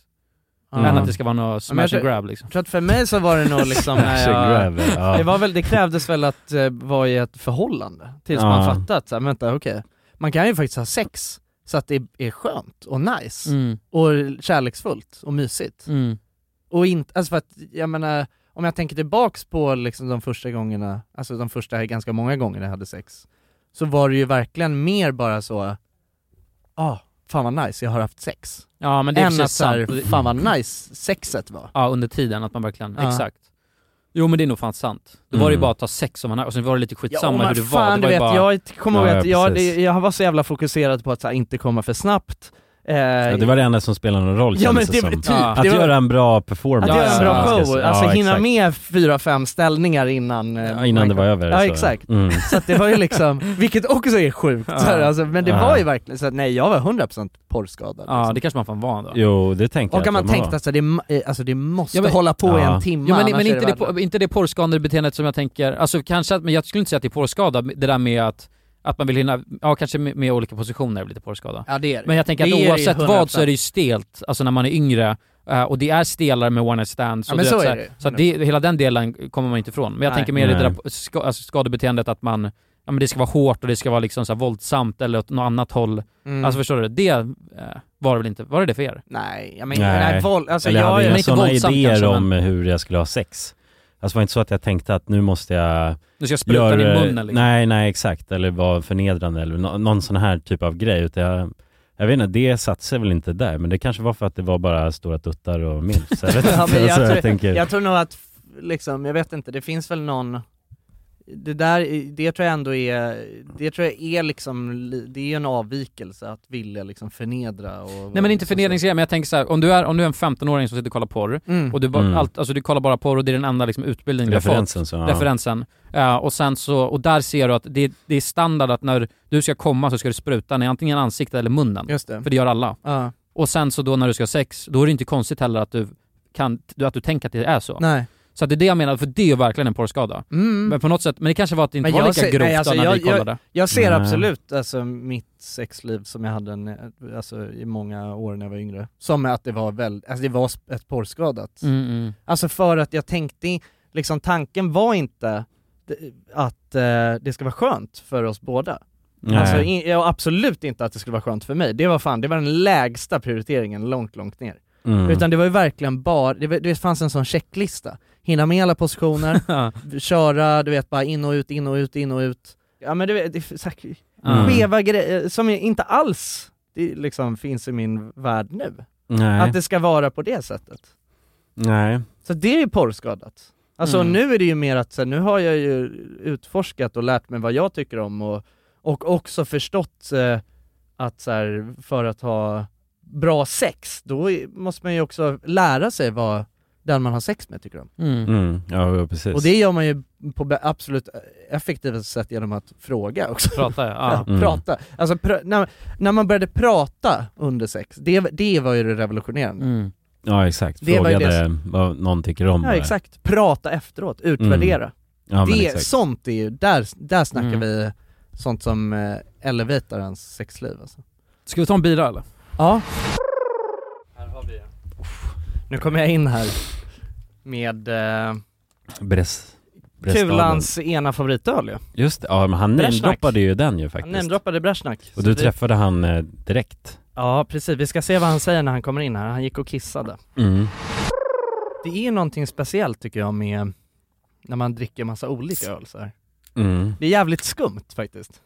S1: Ja.
S2: Än att det ska vara något
S1: men jag
S2: smash and grab liksom.
S1: Jag tror att för mig så var det nog
S2: *laughs*
S1: liksom när
S3: Action
S1: jag,
S3: grab, ja.
S1: det, var väl, det krävdes väl att eh, vara i ett förhållande tills
S3: Ja.
S1: man fattat såhär, vänta okej, man kan ju faktiskt ha sex så att det är skönt och nice
S2: Mm,
S1: och kärleksfullt och mysigt.
S2: mm.
S1: Och inte, alltså för att, jag menar, om jag tänker tillbaks på liksom de första gångerna, alltså de första ganska många gångerna jag hade sex, så var det ju verkligen mer bara så, ah, fan vad nice jag har haft sex.
S2: Ja men det är
S1: Än att
S2: precis sant.
S1: såhär, fan vad nice sexet var.
S2: Ja under tiden, att man verkligen,
S1: Ja.
S2: exakt. Jo men det är nog fan sant. Då var det ju
S3: Mm.
S2: bara att ta sex som man och sen var det lite skitsamma
S1: men
S2: hur det var.
S1: fan,
S2: det var
S1: du vet,
S2: ju bara...
S1: jag kommer ihåg
S3: Ja, ja,
S1: att jag, det,
S3: precis.
S1: jag var så jävla fokuserad på att så här, inte komma för snabbt. Eh,
S3: Ja, det var det enda som spelade någon roll
S1: ja, men
S3: kändes
S1: det,
S3: som.
S1: typ,
S2: Ja.
S3: Att
S1: det var,
S3: göra en bra performance.
S1: att göra en
S3: Ja,
S1: bra
S3: ska jag
S1: show,
S3: säga.
S1: alltså
S3: Ja,
S1: hinna
S3: exakt.
S1: med fyra, fem ställningar innan... eh,
S3: Ja, innan det var över.
S1: Ja
S3: så.
S1: exakt.
S3: Mm.
S1: Så att det var ju liksom, vilket också är sjukt. Så här, alltså, men det
S3: Ja.
S1: var ju verkligen så att nej jag var 100% porrskadad.
S2: Ja
S1: liksom.
S2: det kanske man fan var då.
S3: Jo, det tänkte jag
S1: Och att man
S3: de
S1: tänkte
S3: var.
S1: att det, eh, alltså, det måste
S2: Ja, men-
S1: hålla på i
S3: Ja.
S1: en timme
S2: Jo, men,
S1: annars
S2: men
S1: är
S2: inte, det,
S1: värdelöst.
S2: por- inte det porrskadade beteendet som jag tänker, alltså kanske att, men jag skulle inte säga att det är porrskada, det där med att, att man vill hinna, ja kanske med, med olika positioner är väl lite porrskada.
S1: Ja det är det.
S2: Men jag tänker
S1: Det är
S2: att
S1: ju
S2: oavsett
S1: 100%.
S2: vad så är det ju stelt, alltså när man är yngre, eh, och det är stelare med one night stands
S1: Ja,
S2: och
S1: men
S2: du
S1: så
S2: vet,
S1: är
S2: här,
S1: det.
S2: så att det, hela den delen kommer man inte ifrån. Men jag
S1: Nej.
S2: tänker mer i det
S3: Nej.
S2: där ska, alltså skadebeteendet att man, ja men det ska vara hårt och det ska vara liksom så här våldsamt eller åt något annat håll.
S1: Mm.
S2: Alltså förstår du? Det eh, var det väl inte, var det det för er?
S1: nej, jag menar,
S3: Nej.
S1: nej. våld, alltså
S3: Eller
S1: jag,
S3: hade
S1: jag
S3: jag
S1: men inte
S3: sådana
S1: våldsam
S3: idéer
S1: kanske, men-
S3: om hur jag skulle ha sex? Alltså det var inte så att jag tänkte att nu måste jag...
S2: Nu ska jag spruta
S3: göra-
S2: din mun, liksom. eller?
S3: Nej, nej exakt. Eller vara förnedrande eller nå- någon sån här typ av grej. Utan jag, jag vet inte, det satte sig väl inte där. Men det kanske var för att det var bara stora tuttar och milfs. Jag vet inte.
S1: *laughs* ja, men jag,
S3: Så jag
S1: tror,
S3: tänker-
S1: jag tror nog att, f- liksom, jag vet inte, det finns väl någon det där, det tror jag ändå är, det tror jag är liksom, li- det är ju en avvikelse att vilja liksom förnedra och
S2: Nej men inte förnedringsgrejen, men jag tänker så här, om du är, om du är en 15-åring som sitter och kollar porr,
S1: Mm.
S2: och du, bara,
S3: Mm.
S2: allt, alltså, du kollar bara porr och det är den enda liksom, utbildningen du har
S3: Referensen,
S2: fått.
S3: så, ja.
S2: Referensen. Eh, och sen så, och där ser du att det, det är standard att när du ska komma så ska du spruta den i antingen ansiktet eller munnen.
S1: Just det.
S2: För det gör alla.
S1: Ja.
S2: Och sen så då när du ska ha sex, då är det inte konstigt heller att du, kan, att du tänker att det är så.
S1: Nej.
S2: Så att det är det jag menar, för det är ju verkligen en porrskada.
S1: Mm.
S2: Men på något sätt, men det kanske var att det inte
S1: Men
S2: var
S1: jag
S2: lika
S1: ser-
S2: grovt
S1: nej, alltså,
S2: då när
S1: jag-
S2: vi kollade.
S1: Jag ser
S3: Nej.
S1: absolut alltså, mitt sexliv som jag hade en, alltså, i många år när jag var yngre, som att det var väl, alltså det var sp- ett porrskadat.
S2: Mm, mm.
S1: Alltså för att jag tänkte, i- liksom tanken var inte d- att eh, det ska vara skönt för oss båda.
S3: Nej.
S1: Alltså in, ja, absolut inte att det skulle vara skönt för mig, det var fan, det var den lägsta prioriteringen långt, långt ner.
S3: Mm.
S1: Utan det var ju verkligen bara, det, var- det fanns en sån checklista. Hinna med alla
S3: *laughs*
S1: positioner, köra, du vet bara in och ut, in och ut, in och ut. Ja men du vet, det är så här,
S2: Mm.
S1: skeva grejer som jag inte alls det liksom finns i min värld nu.
S3: Nej.
S1: Att det ska vara på det sättet.
S3: Nej.
S1: Så det är ju porrskadat. Alltså
S2: Mm.
S1: nu är det ju mer att så här, nu har jag ju utforskat och lärt mig vad jag tycker om och, och också förstått eh, att så här, för att ha bra sex, då är- måste man ju också lära sig vad den man har sex med tycker om.
S2: Mm.
S3: Mm. Ja, precis.
S1: Och det gör man ju på be- absolut effektivaste sätt genom att fråga också.
S2: Prata, ja.
S1: Ja,
S3: Mm.
S1: Prata. Alltså, pr- när, när man började prata under sex, det, det var ju det revolutionerande.
S2: Mm.
S3: Ja, exakt.
S1: Det var ju
S3: Frågade
S1: det
S3: vad någon tycker om
S1: Ja
S3: det.
S1: exakt, prata efteråt, utvärdera.
S3: Mm. Ja, men
S1: det,
S3: exakt.
S1: sånt är ju, där, där snackar
S2: Mm.
S1: vi sånt som eh, elevatar ens sexliv alltså.
S2: Ska vi ta en bira eller?
S1: Ja. Nu kommer jag in här med eh,
S3: Brest. Brestaden.
S1: Kulans ena favoritöl ju.
S3: Just det, ja men han
S1: Brezhnak.
S3: namedroppade ju den ju
S1: Han
S3: faktiskt.
S1: namedroppade Brezjnak.
S3: och du
S1: Så vi-
S3: träffade han eh, direkt.
S1: Ja precis, vi ska se vad han säger när han kommer in här. Han gick och kissade.
S3: Mm.
S1: Det är någonting speciellt tycker jag med när man dricker massa olika öl så här.
S3: Mm.
S1: Det är jävligt skumt faktiskt.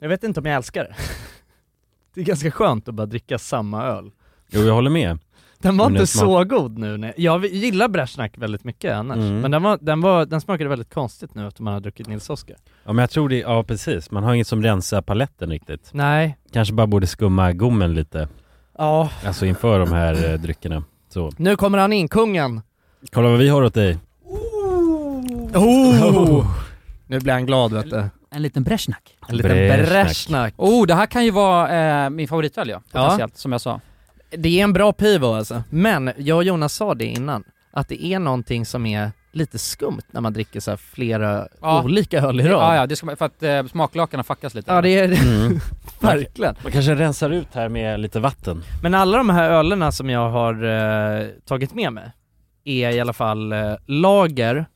S1: Jag vet inte om jag älskar det. *laughs* Det är ganska skönt att bara dricka samma öl.
S3: Jo, jag håller med.
S1: Den var
S3: Men
S1: inte
S3: den smak-
S1: så god nu. när- Jag gillar Brezjnak väldigt mycket annars,
S3: Mm.
S1: men den, var, den, var, den smakade väldigt konstigt nu efter man har druckit Nils Oskar.
S3: Ja men jag tror det, ja precis. Man har inget som rensar paletten riktigt.
S1: Nej.
S3: Kanske bara borde skumma gommen lite.
S1: Ja,
S3: Alltså inför de här eh, dryckerna. Så.
S1: nu kommer han in, kungen!
S3: Kolla vad vi har åt dig.
S1: Oh! Nu blir han glad vet du.
S2: En liten breshnack.
S1: En liten
S3: Brezjnak.
S1: Brezjnak.
S2: Oh, det här kan ju vara eh, min favoritöl ja, potentiellt, som jag sa.
S1: Det är en bra pivo alltså. Men jag och Jonas sa det innan, att det är någonting som är lite skumt när man dricker så här flera
S2: Ja.
S1: olika öl i rad.
S2: Ja, ja, det ska man, för att eh, smaklakanen fuckas lite.
S1: Ja, det är det *laughs*
S3: Mm.
S1: verkligen.
S3: Man kanske rensar ut här med lite vatten.
S1: Men alla de här ölerna som jag har eh, tagit med mig är i alla fall eh, lager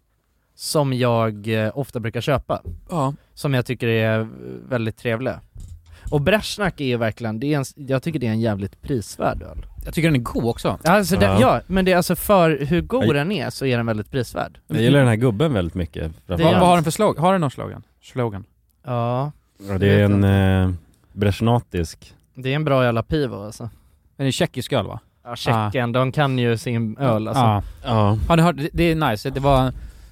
S1: som jag eh, ofta brukar köpa,
S2: Ja.
S1: som jag tycker är eh, väldigt trevliga. Och Brezjnak är ju verkligen, det är en, jag tycker det är en jävligt prisvärd öl.
S2: Jag tycker den är god också.
S1: Alltså ja.
S3: Ja.
S1: Den, ja, men det är alltså för hur god
S3: Aj.
S1: den är så är den väldigt prisvärd.
S3: Jag gillar den här gubben väldigt
S1: Det
S3: mycket.
S2: Vad,
S1: gör
S2: vad har
S1: han.
S2: den för slogan? Har den någon slogan? Slogan?
S1: Ja,
S3: Ja, det är
S1: Jag vet
S3: en
S1: inte.
S3: eh, brezjnatisk.
S1: det är en bra jävla pivo alltså.
S2: Den är tjeckisk öl va?
S1: Ja, Tjeckien, de kan ju sin öl alltså.
S2: Ja.
S3: Ja.
S2: Har ni hört? Det, det är nice. Det var...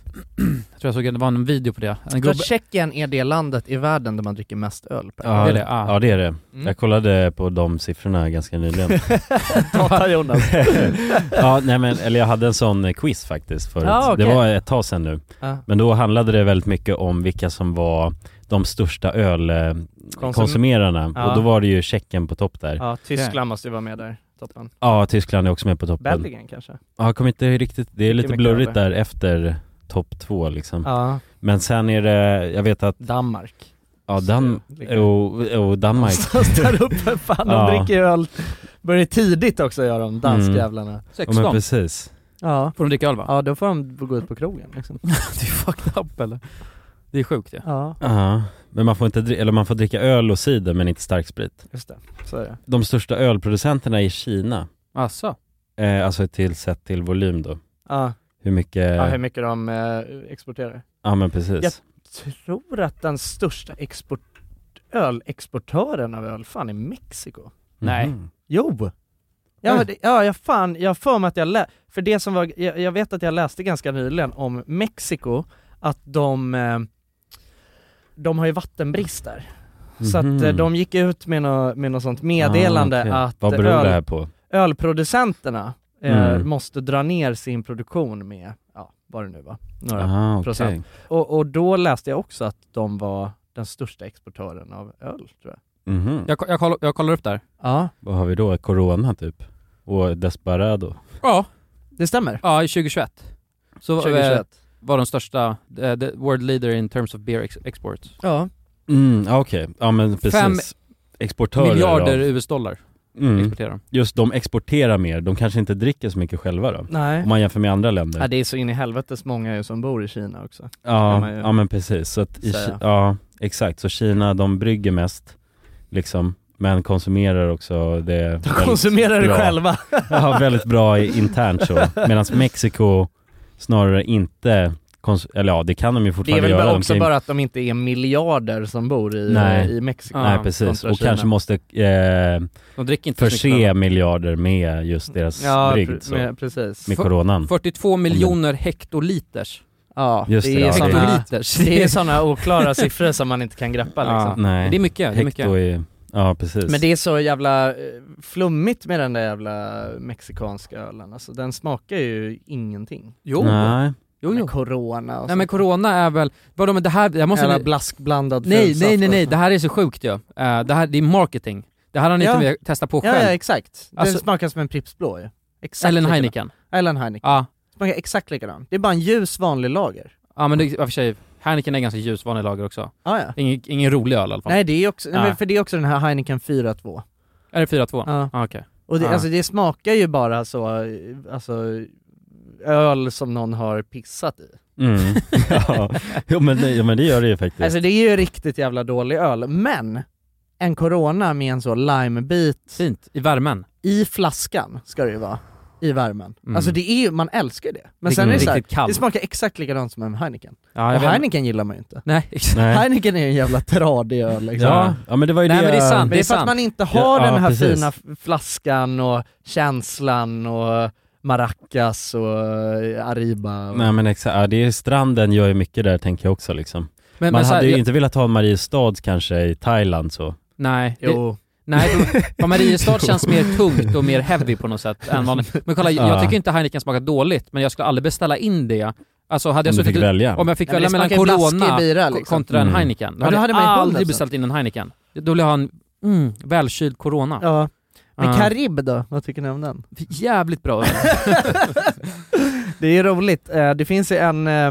S2: *clears throat* jag tror jag såg en- det var en video på det. En
S1: Jag tror
S2: gubbe...
S1: att Tjeckien är det landet i världen där man dricker mest öl per
S3: Ja,
S2: Det är det, ja.
S3: ja det är det.
S1: Mm. *laughs*
S3: Jag kollade på de siffrorna ganska nyligen. *laughs*
S1: Tata Jonas.
S3: ja, nej men, eller jag hade en sån eh, quiz faktiskt förut.
S1: Ja, Ah, okej.
S3: Det var ett tag sedan nu.
S1: Ja.
S3: Men då handlade det väldigt mycket om vilka som var de största
S1: Konsum-
S3: ölkonsumerarna.
S1: Ja.
S3: Och då var det ju Tjeckien på topp där. Ja,
S1: Ja, Tyskland måste ju vara med där, toppen.
S3: Tyskland är också med på toppen.
S1: Belgien kanske?
S3: Ja, jag kommer inte riktigt, det är lite
S1: mycket
S3: blurrigt
S1: över.
S3: där efter topp två liksom.
S1: Ja.
S3: Men sen är det, jag vet att,
S1: Danmark.
S3: ja Dan- och,
S1: *laughs*
S3: och Danmark.
S1: Någonstans där uppe, fan de
S3: Ja. Mm.
S1: dricker ju öl, börjar tidigt också gör de, danskjävlarna.
S3: Ja
S2: 16?
S3: men precis.
S1: Ja.
S2: Får de dricka öl va?
S1: ja, då får de gå ut på krogen liksom.
S2: det är fucked up eller? Det är sjukt ju.
S1: Ja,
S3: Ja. Men man får inte, dri- eller man får dricka öl och cider men inte starksprit.
S1: just det. Så är det.
S3: de största ölproducenterna i Kina,
S2: Asså?
S3: eh, alltså till sett till volym då,
S1: Ja.
S3: hur mycket...
S1: Ja, hur mycket de eh, exporterar.
S3: Ja, men precis.
S1: Jag tror att den största export, ölexportören av öl fan är Mexiko.
S2: Nej.
S3: Mhm.
S1: Jo!
S3: Eh.
S1: Jag, hörde, ja, jag fan, jag har för mig att jag lä- för det som var, jag, jag vet att jag läste ganska nyligen om Mexiko, att de, eh, de har ju vattenbrist där. Så att eh,
S3: Mhm.
S1: de gick ut med något med nå sånt meddelande
S3: Ah, okej.
S1: att
S3: Vad beror
S1: öl,
S3: det här på?
S1: ölproducenterna eh,
S3: Mm.
S1: måste dra ner sin produktion med, ja vad det nu var, några
S3: Ah, okej.
S1: procent. Och, och då läste jag också att de var den största exportören av öl tror jag.
S3: Mhm.
S2: Jag, jag, kollar, jag kollar upp där.
S1: Ja,
S3: Vad har vi då? Corona typ? Och Desperado?
S2: Ja,
S1: det stämmer.
S2: ja i 2021. Så eh,
S1: 2021.
S2: var de största, eh, the world leader in terms of beer ex- exports.
S1: Ja.
S3: Mm, ja, okej. Ja men precis.
S2: Fem
S3: Exportörer
S2: Miljarder
S3: av...
S2: US-dollar
S3: Mm.
S2: exporterar de.
S3: Just de exporterar mer, de kanske inte dricker så mycket själva då?
S1: Nej.
S3: Om man jämför med andra länder?
S1: Ja, det är så in i helvetes många ju som bor i Kina också. Kan
S3: Ja,
S1: man ju-
S3: ja men precis. Så att i,
S1: säga.
S3: Ki- ja, exakt. Så Kina, de brygger mest liksom, men konsumerar också det
S1: De
S3: väldigt
S1: konsumerar det
S3: bra.
S1: själva.
S3: Ja, väldigt bra i- internt så. Medan Mexiko snarare inte, kons- eller ja det kan de ju
S1: *laughs* Det är
S3: fortfarande
S1: väl
S3: göra.
S1: bara
S3: De
S1: också
S3: kan ju-
S1: bara att de inte är miljarder som bor i,
S3: Nej.
S1: i Mexiko.
S3: Nej
S2: Ja,
S3: precis,
S1: kontra
S3: och
S1: Kina.
S3: kanske måste eh,
S2: De dricker inte så mycket
S3: förse miljarder med just deras
S1: Ja,
S3: brygd
S1: pre-
S3: så,
S1: med- precis.
S3: med coronan.
S2: 42 miljoner hektoliters.
S1: Ja,
S3: Just
S1: det,
S3: det,
S1: är
S3: ja, det-
S1: såna,
S2: Hektoliters. *laughs*
S1: det är sådana oklara siffror som man inte kan greppa
S2: Ja.
S1: liksom.
S3: Nej,
S2: Det är mycket, det är mycket.
S3: hekto är, ja precis.
S1: Men det är så jävla eh, flummigt med den där jävla mexikanska ölen, alltså den smakar ju ingenting.
S2: Jo,
S3: Nej.
S2: jo,
S1: Med
S2: jo.
S1: corona och
S2: Nej men corona är väl, vadå men det här, jag måste...
S1: Jävla alltså. blaskblandad
S2: nej,
S1: fulsaft
S2: nej, nej,
S1: och-
S2: nej, det här är så sjukt ju. Eh, det här, det är marketing. Det här har ni
S1: Ja.
S2: inte velat testa på
S1: Ja, ja
S2: själv.
S1: exakt. Den
S2: Alltså-
S1: smakar som en Pripps blå ju. Exakt
S2: Eller en
S1: likadan.
S2: Heineken.
S1: Eller en Heineken.
S2: Ja.
S1: Smakar exakt likadan. Det är bara en ljus vanlig lager.
S2: Ja men det, i och för sig, Heineken är ganska ljus vanlig lager också.
S1: Ah, ja.
S2: Ingen, ingen rolig öl i alla fall.
S1: Nej det är också, nej.
S2: Nej.
S1: men för det är också den här Heineken 4.2.
S2: Är det 4-2?
S1: Ja.
S2: Ah, okej.
S1: Och det,
S2: Ja.
S1: alltså, det smakar ju bara så, eh, alltså öl som någon har pissat i. *laughs*
S3: Mm. ja. Jo, men, det- ja men det gör det ju faktiskt.
S1: Alltså det är ju riktigt jävla dålig öl, men en Corona med en så limebit
S2: Fint, i värmen.
S1: i flaskan ska det ju vara, i värmen.
S2: Mm.
S1: Alltså det är ju, man älskar ju det. Men
S2: Riktigt-
S1: sen är det så här,
S2: riktigt kallt.
S1: det smakar exakt likadant som en Heineken.
S2: Ja,
S1: Och
S2: jag vet-
S1: Heineken gillar man ju inte. *laughs*
S2: Nej, exakt.
S3: Nej.
S1: Heineken är ju en jävla tradig öl liksom.
S3: Ja, ja men det var ju
S2: Nej,
S3: det
S2: men det är sant.
S1: Men det är för att
S2: sant.
S1: man inte har
S3: Ja,
S1: den
S3: ja,
S1: här
S3: precis.
S1: fina f- flaskan och känslan och maracas och eh, Ariba. Och...
S3: Nej men exakt, ja, det är stranden gör ju mycket där tänker jag också liksom.
S2: Men,
S3: Man
S2: men så här,
S3: hade ju
S2: jag-
S3: inte velat ha en Mariestads kanske i
S2: *laughs*
S3: Thailand så.
S2: Nej, det,
S1: Jo,
S2: Nej, ja, Mariestad känns mer tungt och mer heavy på något sätt
S1: *laughs*
S2: än vanligt. Men kolla, jag, jag
S3: Ja.
S2: tycker inte Heineken smakar dåligt, men jag skulle aldrig beställa in det. Alltså hade jag
S3: Om du
S2: suttit
S3: fick
S2: och-
S3: välja.
S2: Om jag fick
S1: Nej, men
S2: välja
S1: det
S2: mellan
S1: smakar ju blaskig
S2: Corona
S1: bira,
S2: ko-
S1: liksom.
S2: kontra en
S3: Mm.
S2: Heineken,
S1: Ja,
S2: då hade
S1: då hade
S2: jag
S1: man ju hållit,
S2: aldrig
S1: alltså.
S2: beställt in en Heineken. Då vill jag ha en mm, välkyld Corona.
S1: ja. Men
S2: Ja.
S1: Karib då, vad tycker ni om den?
S2: Jävligt
S1: *laughs*
S2: bra öl.
S1: det är ju roligt, Eh, det finns ju en, eh,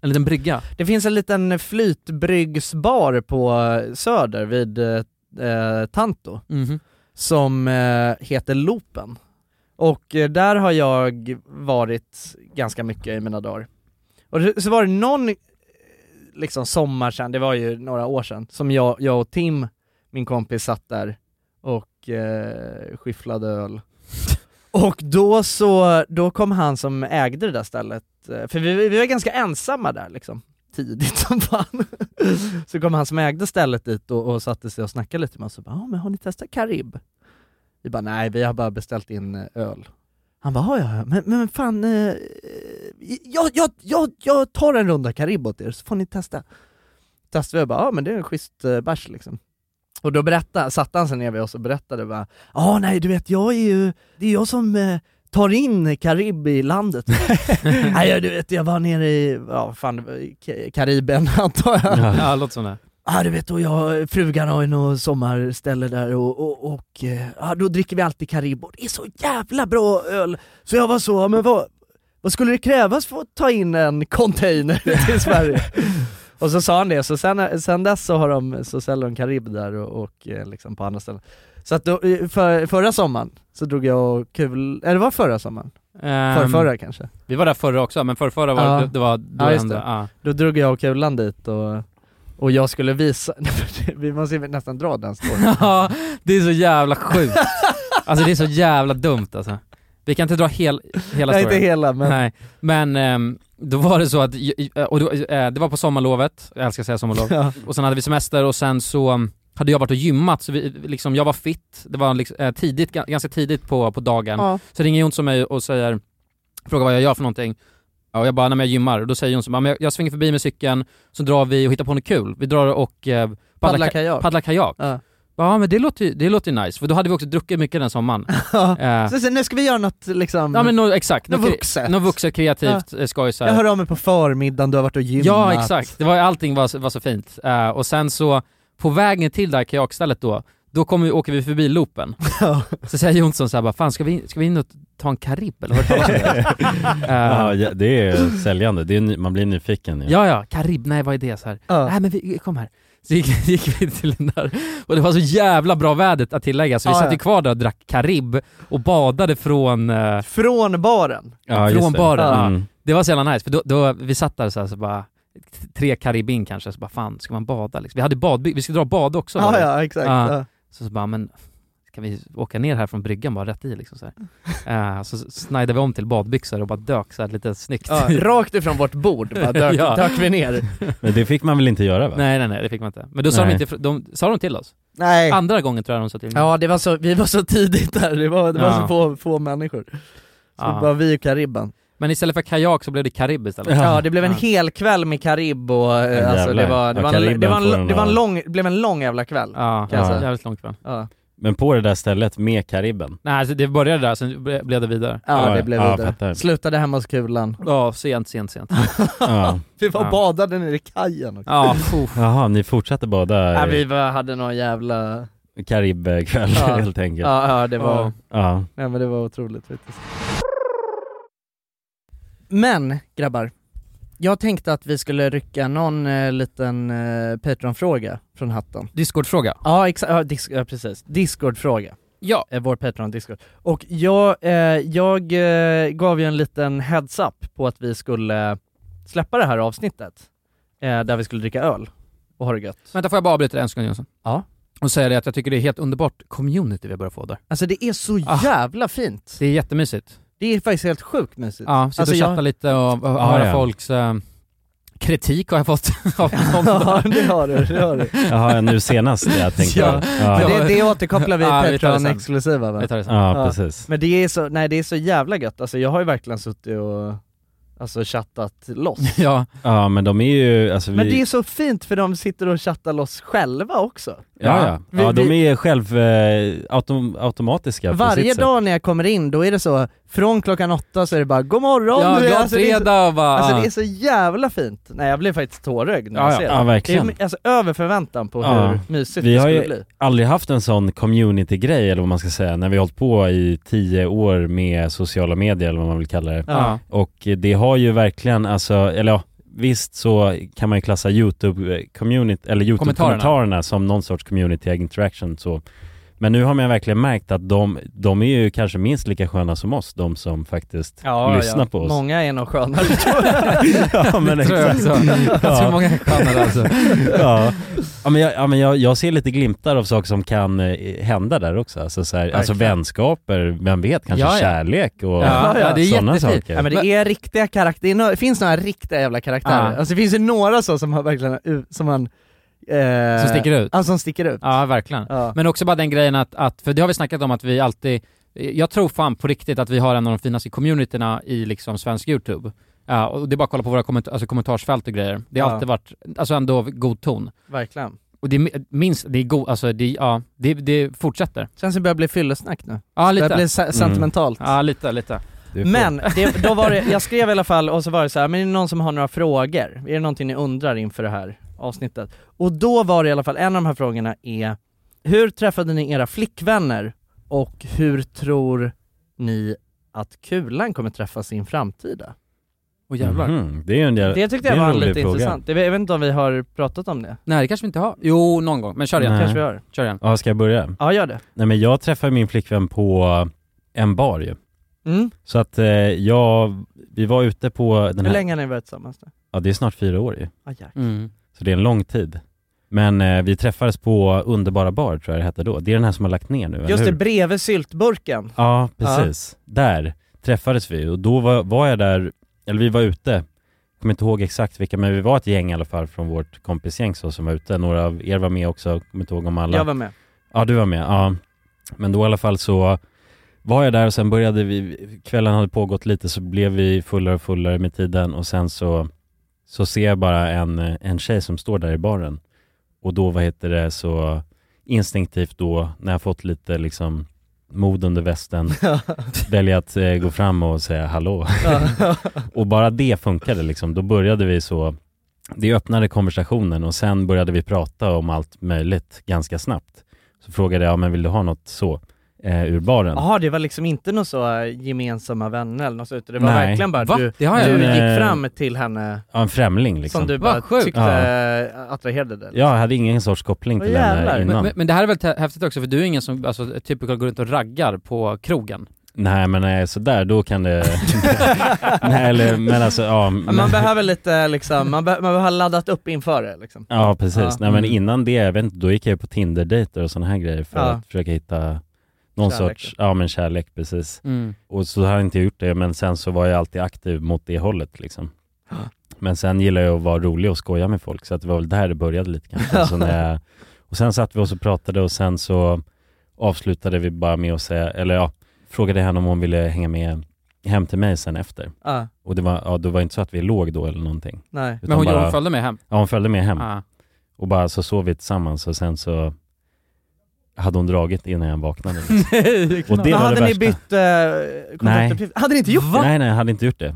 S2: En liten brygga.
S1: det finns en liten flytbryggsbar på eh, Söder vid eh, eh, Tanto
S2: Mhm.
S1: som eh, heter Loopen. Och eh, där har jag varit ganska mycket i mina dagar. Och det- så var det någon eh, liksom sommar sedan, det var ju några år sedan, som jag, jag och Tim, min kompis, satt där och eh, skifflade öl. Och då så, då kom han som ägde det där stället, eh, för vi, vi var ganska ensamma där liksom, tidigt som fan. Så kom han som ägde stället dit och, och satte sig och snackade lite med oss och bara ah, men har ni testat Karib?” Vi bara “Nej, vi har bara beställt in eh, öl”. Han bara “Ja, ja, ja, men, men fan, eh, eh, jag, jag, jag, jag tar en runda Karib åt er så får ni testa”. Testade vi och bara “Ja, men det är en schysst eh, bärs liksom”. Och då berättade, satte han sig ner vid oss och berättade bara “Ja, nej, du vet, jag är ju, det är jag som eh, tar in Karib i landet. *laughs* nej, jag- du vet, jag var nere i, ja, fan, det var i Ka- Karibien antar jag.
S2: Ja, låter som det.
S1: Ja du vet, och jag, frugan har ju något sommarställe där och, och, och eh, ja, då dricker vi alltid Karibor. Det är så jävla bra öl! Så jag var så, ja, men vad, vad skulle det krävas för att ta in en container *laughs* till Sverige? och så sa han det, så sen, sen dess så, har de, så säljer de Karib där och, och eh, liksom på andra ställen. Så att då, eh, för, förra sommaren så drog jag och kul, eller det var förra sommaren?
S2: Ehm,
S1: Förrförra förra kanske?
S2: Vi var där förra också, men förra, förra var
S1: Ja.
S2: det, det var då
S1: Ja,
S2: det
S1: just
S2: hände.
S1: det.
S2: Ja.
S1: Då drog jag och Kulan dit och, och jag skulle visa, *laughs* vi måste ju nästan dra den storyn.
S2: Ja, det är så jävla sjukt. Alltså det är så jävla dumt alltså. Vi kan inte dra hel, hela
S1: Nej,
S2: storyn.
S1: inte hela, men-
S2: Nej, men ehm, då var det så att, och då, eh, det var på sommarlovet, jag älskar att
S1: *laughs*
S2: säga sommarlov,
S1: *laughs* Ja.
S2: och sen hade vi semester och sen så um, hade jag varit och gymmat, så vi, liksom, jag var fit, det var liksom, eh, tidigt, ga- ganska tidigt på, på dagen.
S11: Ja.
S2: Så ringer Jonsson mig och säger, frågar vad jag gör för någonting. Ja, och jag bara, när jag gymmar. Och då säger Jonsson, bara, "Men jag, jag svänger förbi med cykeln, så drar vi och hittar på något kul. Vi drar och eh,
S1: Paddlar kajak.
S2: Paddlar kajak. Ja. men det låter, ju- det låter ju nice, för då hade vi också druckit mycket den sommaren. Eh,
S1: Så, så nu ska vi göra något liksom...
S2: Ja men nå- exakt,
S1: Något
S2: Nå-
S1: vuxet.
S2: Något vuxet, kreativt, ja. skoj så här.
S1: Jag hör av mig på förmiddagen, du har varit och gymmat. *laughs*
S2: Ja exakt, det var, allting var, så- var så fint. Eh, och sen så, på vägen till det här kajakstället då, då kommer vi, åker vi förbi loopen. så säger Jonsson så här bara, fan ska vi, in- ska vi in och ta en karib eller
S3: *laughs*
S2: vad
S1: *laughs*
S2: det
S3: Ja, ja, det är säljande, det är, ny- man blir nyfiken ju.
S2: Eh. Ja ja, karib, nej vad är det? Så här. Nej men vi, kom här. Så gick, *laughs* gick vi till den där, och det var så jävla bra vädret att tillägga, så vi
S1: Ja,
S2: satt ju
S1: ja.
S2: kvar där och drack karib och badade från eh,
S1: Från baren.
S2: Ja, från baren.
S1: Ja.
S3: Mm.
S2: Ja. Det var så jävla nice, för då, då vi satt där så, här, så bara, tre karibin kanske, så bara fan, ska man bada liksom? Vi hade badby, vi skulle dra och bada också.
S1: Ja,
S2: var det.
S1: ja, exakt, ja.
S2: Så, så bara, men ska vi åka ner här från bryggan bara rätt i liksom så här. Eh, så snajdade vi om till badbyxor och bara dök så här lite snyggt. *laughs*
S1: Ja, rakt ifrån vårt bord bara dök,
S2: Ja.
S1: dök vi ner.
S3: Men det fick man väl inte göra va?
S2: Nej nej nej, det fick man inte. Men då sa
S3: Nej.
S2: de inte, de, sa de till oss?
S1: Nej.
S2: Andra gången tror jag de sa till mig.
S1: Eh. Ja, det var så, vi var så tidigt där, det var, det var
S2: Ja.
S1: så få, få människor. Så
S2: Ja.
S1: bara vi och Karibben.
S2: Men istället för kajak så blev det karib istället.
S1: Ja, det blev en hel kväll med Karib och eh,
S2: Ja,
S1: alltså, det,
S2: jävlar.
S1: var, det,
S2: Ja,
S1: var en, det,
S2: Karibben
S1: var
S2: får
S1: en,
S2: den
S1: det var en
S2: vara.
S1: lång, det blev en lång jävla kväll.
S2: Ja,
S1: kan jag säga.
S2: jävligt långt fram.
S1: Ja.
S3: Men på det där stället med Karibben?
S2: Nej, alltså det började där, sen ble- blev det vidare.
S1: Ja, det blev
S3: ja,
S1: vidare.
S3: fattar.
S1: Slutade hemma hos Kulan.
S2: Ja, sent, sent, sent.
S3: Ja.
S1: *laughs* Vi var
S2: Ja.
S1: badade nere i kajen också. *laughs*
S2: Ja,
S3: Jaha, ni fortsatte
S1: Ja,
S3: bada
S1: vi var, hade någon jävla...
S3: Karibkväll
S1: Ja.
S3: helt enkelt?
S1: Ja, ja det var...
S3: Ja.
S1: Nej men det var otroligt faktiskt. Men grabbar, jag tänkte att vi skulle rycka någon eh, liten eh, Patreon-fråga från hatten.
S2: Discord-fråga?
S1: Ja, exa- ja, dis- ja precis. Discord-fråga.
S2: Ja.
S1: Eh, vår Patreon-discord. Och jag, eh, jag eh, gav ju en liten heads-up på att vi skulle släppa det här avsnittet, eh, där vi skulle dricka öl och ha det gött.
S2: Vänta, får jag bara avbryta dig en sekund Jonsson?
S1: Ja.
S2: Och säga det att jag tycker det är helt underbart community vi börjar få där.
S1: Alltså det är så jävla fint.
S2: Det är jättemysigt.
S1: Det är faktiskt helt sjukt mysigt.
S2: Ja,
S1: Alltså,
S2: sitta och
S1: jag-
S2: chatta lite och, och
S1: Ja,
S2: höra
S1: ja.
S2: folks eh, kritik har jag fått *laughs* av dem.
S1: *laughs* Ja, det har du, det har du.
S3: Jaha, nu senast jag tänkte.
S1: Ja. Men det, det återkopplar vi i
S2: Ja, vi tar det
S1: Patreon
S2: sen.
S1: exklusiva va?
S2: Vi tar det sen.
S3: Ja, precis.
S1: Men det är så, nej det är så jävla gött, alltså jag har ju verkligen suttit och alltså chattat loss. *laughs*
S2: Ja.
S3: ja, men de är ju, alltså vi...
S1: Men det är så fint för de sitter och chattar loss själva också.
S3: Ja, ja.
S1: Vi-
S3: ja de
S1: vi-
S3: är själv eh, autom- automatiska på
S1: Varje
S3: sitt
S1: dag när jag kommer in, då är det så, från klockan åtta så är det bara God morgon
S2: Ja,
S1: du är, alltså,
S2: glad
S1: det är så-
S2: fredag, va?
S1: Alltså det är så jävla fint. Nej jag blir faktiskt tårögd när
S3: Ja,
S1: jag
S3: ja.
S1: ser
S3: Ja,
S1: det.
S3: verkligen.
S1: Det är alltså över förväntan på hur mysigt
S3: Vi
S1: det
S3: har
S1: skulle
S3: ju
S1: bli.
S3: aldrig haft en sån community-grej eller vad man ska säga, när vi har hållit på i tio år med sociala medier eller vad man vill kalla det.
S1: Ja.
S3: Och eh, det har ju verkligen, alltså, eller ja, visst så kan man ju klassa YouTube-community, eller YouTube-kommentarerna som någon sorts community interaction så. Men nu har man verkligen märkt att de, de är ju kanske minst lika sköna som oss, de som faktiskt lyssnar på oss.
S1: Många är nog
S3: *laughs*
S1: skönare
S3: ja men
S2: Det *laughs* tror jag
S3: exakt.
S2: också. Jag tror
S3: Ja.
S2: många är skönare, alltså.
S3: ja. ja men, jag, ja, men jag, jag ser lite glimtar av saker som kan eh, hända där också. Alltså, så här, alltså
S1: Verkligen.
S3: vänskaper, vem vet, kanske
S1: Ja, ja.
S3: kärlek och
S1: Ja, ja, det är
S3: sådana
S1: jättefint.
S3: saker.
S1: Ja, men det är riktiga karaktärer, det finns några riktiga jävla karaktärer.
S2: Ja.
S1: Alltså det finns ju några så som har verkligen, som man... Eh,
S2: Som sticker ut.
S1: Ja, som sticker ut.
S2: Ja, verkligen.
S1: Ja.
S2: Men också bara den grejen att, att, för det har vi snackat om att vi alltid, jag tror fan på riktigt att vi har en av de finaste communityna i liksom svensk YouTube. Ja, och det är bara att kolla på våra komment- alltså kommentarsfält och grejer. Det har
S1: Ja.
S2: alltid varit, alltså ändå god ton.
S1: Verkligen.
S2: Och det är minst, det är god, alltså det, ja, det, det fortsätter.
S1: Känns det börjar bli fyllesnack nu.
S2: Ja, lite.
S1: Det blir
S3: Mm.
S1: se- sentimentalt.
S2: Ja, lite, lite.
S1: Men, det, då var det, jag skrev i alla fall och så var det så här, men är det någon som har några frågor? Är det någonting ni undrar inför det här avsnittet? Och då var det i alla fall, en av de här frågorna är, hur träffade ni era flickvänner och hur tror ni att Kulan kommer träffa sin framtida?
S2: Och
S1: jävlar.
S3: Mhm, Det är ju en jävla,
S1: Det tyckte
S3: det
S1: jag
S3: är en
S1: var
S3: rolig
S1: lite
S3: fråga.
S1: intressant. Det- Jag vet inte om vi har pratat om det?
S2: Nej, det kanske vi inte har. Jo, någon gång. Men kör igen.
S3: Nej.
S1: Kanske vi har.
S2: Kör igen.
S3: Ja, ska jag börja?
S1: Ja, gör det.
S3: Nej men jag träffade min flickvän på en bar ju.
S1: Mm.
S3: Så att eh, jag, vi var ute på den
S1: Hur
S3: här,
S1: länge har ni varit tillsammans? då?
S3: ja det är snart fyra år ju.
S1: Ah, jäklar.
S2: Mm.
S3: Så det är en lång tid. Men eh, vi träffades på Underbara Bar tror jag det hette då. Det är den här som har lagt ner nu, eller
S1: Just det,
S3: hur?
S1: bredvid syltburken.
S3: Ja, precis. Där träffades vi och då var, var jag där, eller vi var ute, kommer inte ihåg exakt vilka, men vi var ett gäng i alla fall från vårt kompisgäng så, som var ute. Några av er var med också, kommer inte ihåg om alla.
S1: Jag var med.
S3: Ja, du var med. Ja. Men då i alla fall så var jag där och sen började vi, kvällen hade pågått lite så blev vi fullare och fullare med tiden och sen så, så ser jag bara en, en tjej som står där i baren. Och då, vad heter det, så instinktivt då, när jag fått lite liksom mod under västen,
S1: *laughs*
S3: välja att eh, gå fram och säga hallå. *laughs* och bara det funkade liksom. Då började vi så, det öppnade konversationen och sen började vi prata om allt möjligt ganska snabbt. Så frågade jag, men vill du ha något så, eh, ur baren?
S1: Jaha, det var liksom inte någon så eh, gemensamma vänner eller något sånt, utan det var
S3: Nej.
S1: verkligen bara
S3: Va?
S1: du,
S3: Det har jag
S1: du
S3: inte.
S1: gick fram till henne
S3: Ja, en främling liksom.
S1: som du bara
S2: sjukt.
S1: tyckte eh, attraherade dig. *laughs*
S3: Ja, jag hade ingen sorts koppling till henne innan.
S2: Men, men, men det här är väl te- häftigt också för du är ingen som alltså, typiskt går runt och raggar på krogen?
S3: Nej men när jag är sådär, då kan det... *laughs* Nej eller, men alltså ja. Men...
S1: Man behöver lite liksom, man, be- man har laddat upp inför det liksom.
S3: *laughs* Ja precis,
S1: Ja.
S3: nej men
S1: Mm.
S3: innan det, jag vet inte, då gick jag ju på Tinder-dejter och sådana här grejer för
S1: Ja.
S3: att försöka hitta någon
S1: Kärlek.
S3: sorts, ja men kärlek precis.
S2: Mm.
S3: Och så hade jag inte gjort det, men sen så var jag alltid aktiv mot det hållet liksom. Men sen gillar jag att vara rolig och skoja med folk, så att det var väl där det började lite kanske. Alltså när jag, och sen satt vi oss och pratade och sen så avslutade vi bara med att säga, eller ja, frågade henne om hon ville hänga med hem till mig sen efter.
S1: Ja.
S3: Och det var, ja, det var inte så att vi låg då eller någonting.
S1: Nej.
S3: Utan
S2: Men hon- hon följde med hem?
S3: Ja, hon följde med hem.
S2: Ah.
S3: Och bara så sov vi tillsammans och sen så hade hon dragit innan jag vaknade.
S2: *laughs*
S3: liksom. och det
S1: Men
S3: var
S1: hade
S3: det
S1: ni
S3: värsta.
S1: bytt eh,
S3: Nej.
S1: kontaktuppgifter? Hade ni inte gjort det?
S3: Nej, nej, jag hade inte gjort det.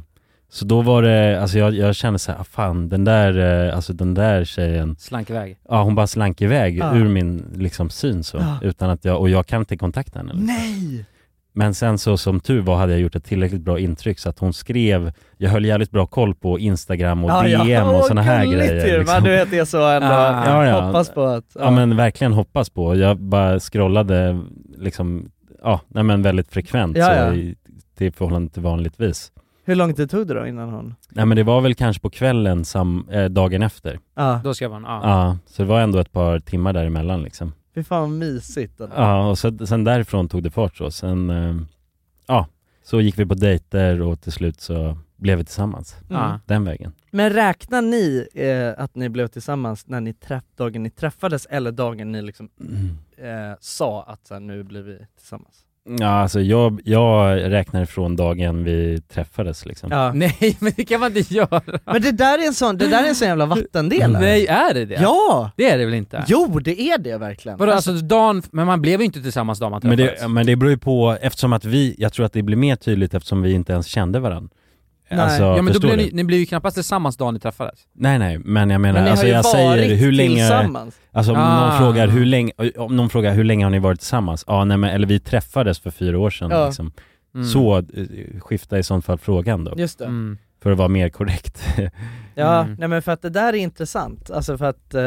S3: Så då var det, alltså jag, jag kände så här, ah, fan den där, eh, alltså den där tjejen
S2: Slank iväg?
S3: Ja hon bara slank iväg
S2: Ja.
S3: ur min liksom syn så,
S2: Ja.
S3: utan att jag, och jag kan inte kontakta henne liksom.
S1: Nej!
S3: Men sen så som tur var hade jag gjort ett tillräckligt bra intryck så att hon skrev, jag höll jävligt bra koll på Instagram och DM och sådana här
S1: gulligt
S3: grejer.
S1: ju,
S3: liksom.
S1: men du vet det är så ändå,
S3: Ah. Ja, ja.
S1: hoppas på att...
S3: Ja men verkligen hoppas på. Jag bara scrollade liksom, ja, nej men väldigt frekvent
S1: Ja,
S3: så
S1: ja.
S3: I, till förhållande till vanligtvis.
S1: Hur lång tid tog det då innan hon...
S3: Nej men det var väl kanske på kvällen sam, eh, dagen efter.
S1: Ja.
S2: Då skrev hon, ja.
S3: Ja, så det var ändå ett par timmar däremellan liksom.
S1: Fy fan vad mysigt. ändå.
S3: Ja, och så, sen därifrån tog det fart så. Sen, eh, ja, så gick vi på dejter och till slut så blev vi tillsammans.
S1: Mm.
S3: Den vägen.
S1: Men räknar ni eh, att ni blev tillsammans när ni träff, dagen ni träffades eller dagen ni liksom eh, sa att så här, nu blir vi tillsammans?
S3: Ja, alltså jag, jag räknar ifrån dagen vi träffades liksom.
S1: Ja.
S2: *laughs* Nej men det kan man inte göra!
S1: *laughs* Men det där är en sån, det där är en sån jävla vattendelare.
S2: Nej, är det det?
S1: Ja!
S2: Det är det väl inte?
S1: Jo det är det verkligen.
S2: Vadå alltså, Dan, men man blev ju inte tillsammans dagen man
S3: Men
S2: träffades?
S3: det, men det beror ju på, eftersom att vi, jag tror att det blir mer tydligt eftersom vi inte ens kände varandra.
S2: Nej.
S3: Alltså,
S2: ja men då
S3: förstår
S2: blev
S3: du?
S2: ni, ni blev ju knappast tillsammans dagen ni träffades.
S3: Nej nej, men jag menar,
S2: Men ni har
S3: alltså
S2: ju
S3: jag säger
S2: varit
S3: hur länge...
S2: tillsammans.
S3: Alltså om,
S2: Ah.
S3: någon frågar hur länge, om någon frågar hur länge har ni varit tillsammans? Ja nej men, eller vi träffades för fyra år sedan
S1: Ja.
S3: liksom.
S1: Mm.
S3: Så, eh, skifta i sånt fall frågan då.
S1: Just det. Mm.
S3: För att vara mer korrekt.
S1: Ja,
S3: Mm.
S1: nej men för att det där är intressant. Alltså för att eh,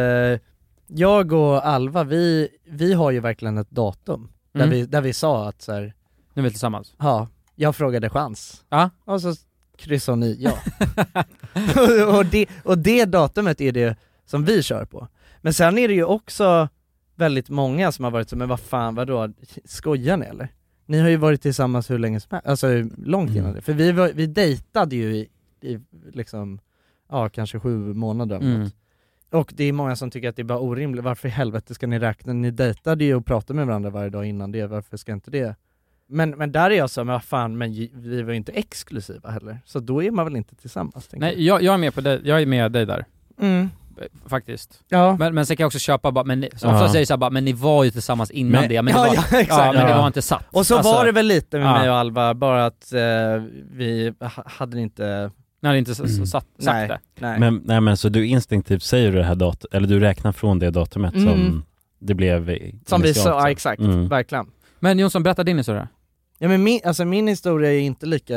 S1: jag och Alva, vi, vi har ju verkligen ett datum där,
S2: Mm.
S1: vi, där vi sa att så här,
S2: Nu är vi tillsammans.
S1: ja, jag frågade chans.
S2: Ja.
S1: Och så kryssade ni
S2: *laughs*
S1: ja. *laughs* och, och, det, och det datumet är det som vi kör på. Men sen är det ju också väldigt många som har varit så, men vad fan vadå, skojar ni eller? Ni har ju varit tillsammans hur länge som helst, alltså långt
S2: Mm.
S1: innan det. För vi, var, vi dejtade ju i, i liksom, ja kanske sju månader eller
S2: Mm.
S1: något. Och det är många som tycker att det är bara orimligt, varför i helvete ska ni räkna? Ni dejtade ju och pratade med varandra varje dag innan det, varför ska inte det? Men, men där är jag så, men vad fan, men ju- vi var ju inte exklusiva heller, så då är man väl inte tillsammans? tänker
S2: Nej jag, jag är med på dig, jag är med dig där.
S1: jag. Mm.
S2: Eh, Faktiskt.
S1: Ja.
S2: Men, men sen kan jag också köpa bara, men ni, så
S3: Ja.
S2: ofta säger jag så här, bara, men ni var ju tillsammans innan
S3: Men-
S2: det, men, det,
S3: Ja,
S2: var,
S1: *laughs*
S3: ja,
S2: ja,
S3: exakt.
S2: men det
S3: Ja.
S2: var inte satt.
S1: Och så
S2: Alltså,
S1: var det väl lite med
S2: ja.
S1: mig och Alva, bara att eh, vi ha- hade inte...
S2: Nej, det är inte så- så- satt, sagt
S1: Nej,
S2: det.
S1: nej.
S3: Men, nej men så du instinktivt säger det här dat- eller du räknar från det datumet
S1: Mm.
S3: som det blev i-
S1: som vi
S3: initialt,
S1: sa,
S3: så.
S1: ja, exakt,
S3: Mm.
S1: verkligen.
S2: Men Jonsson, berätta din historia.
S1: Ja men min, alltså min historia är inte lika...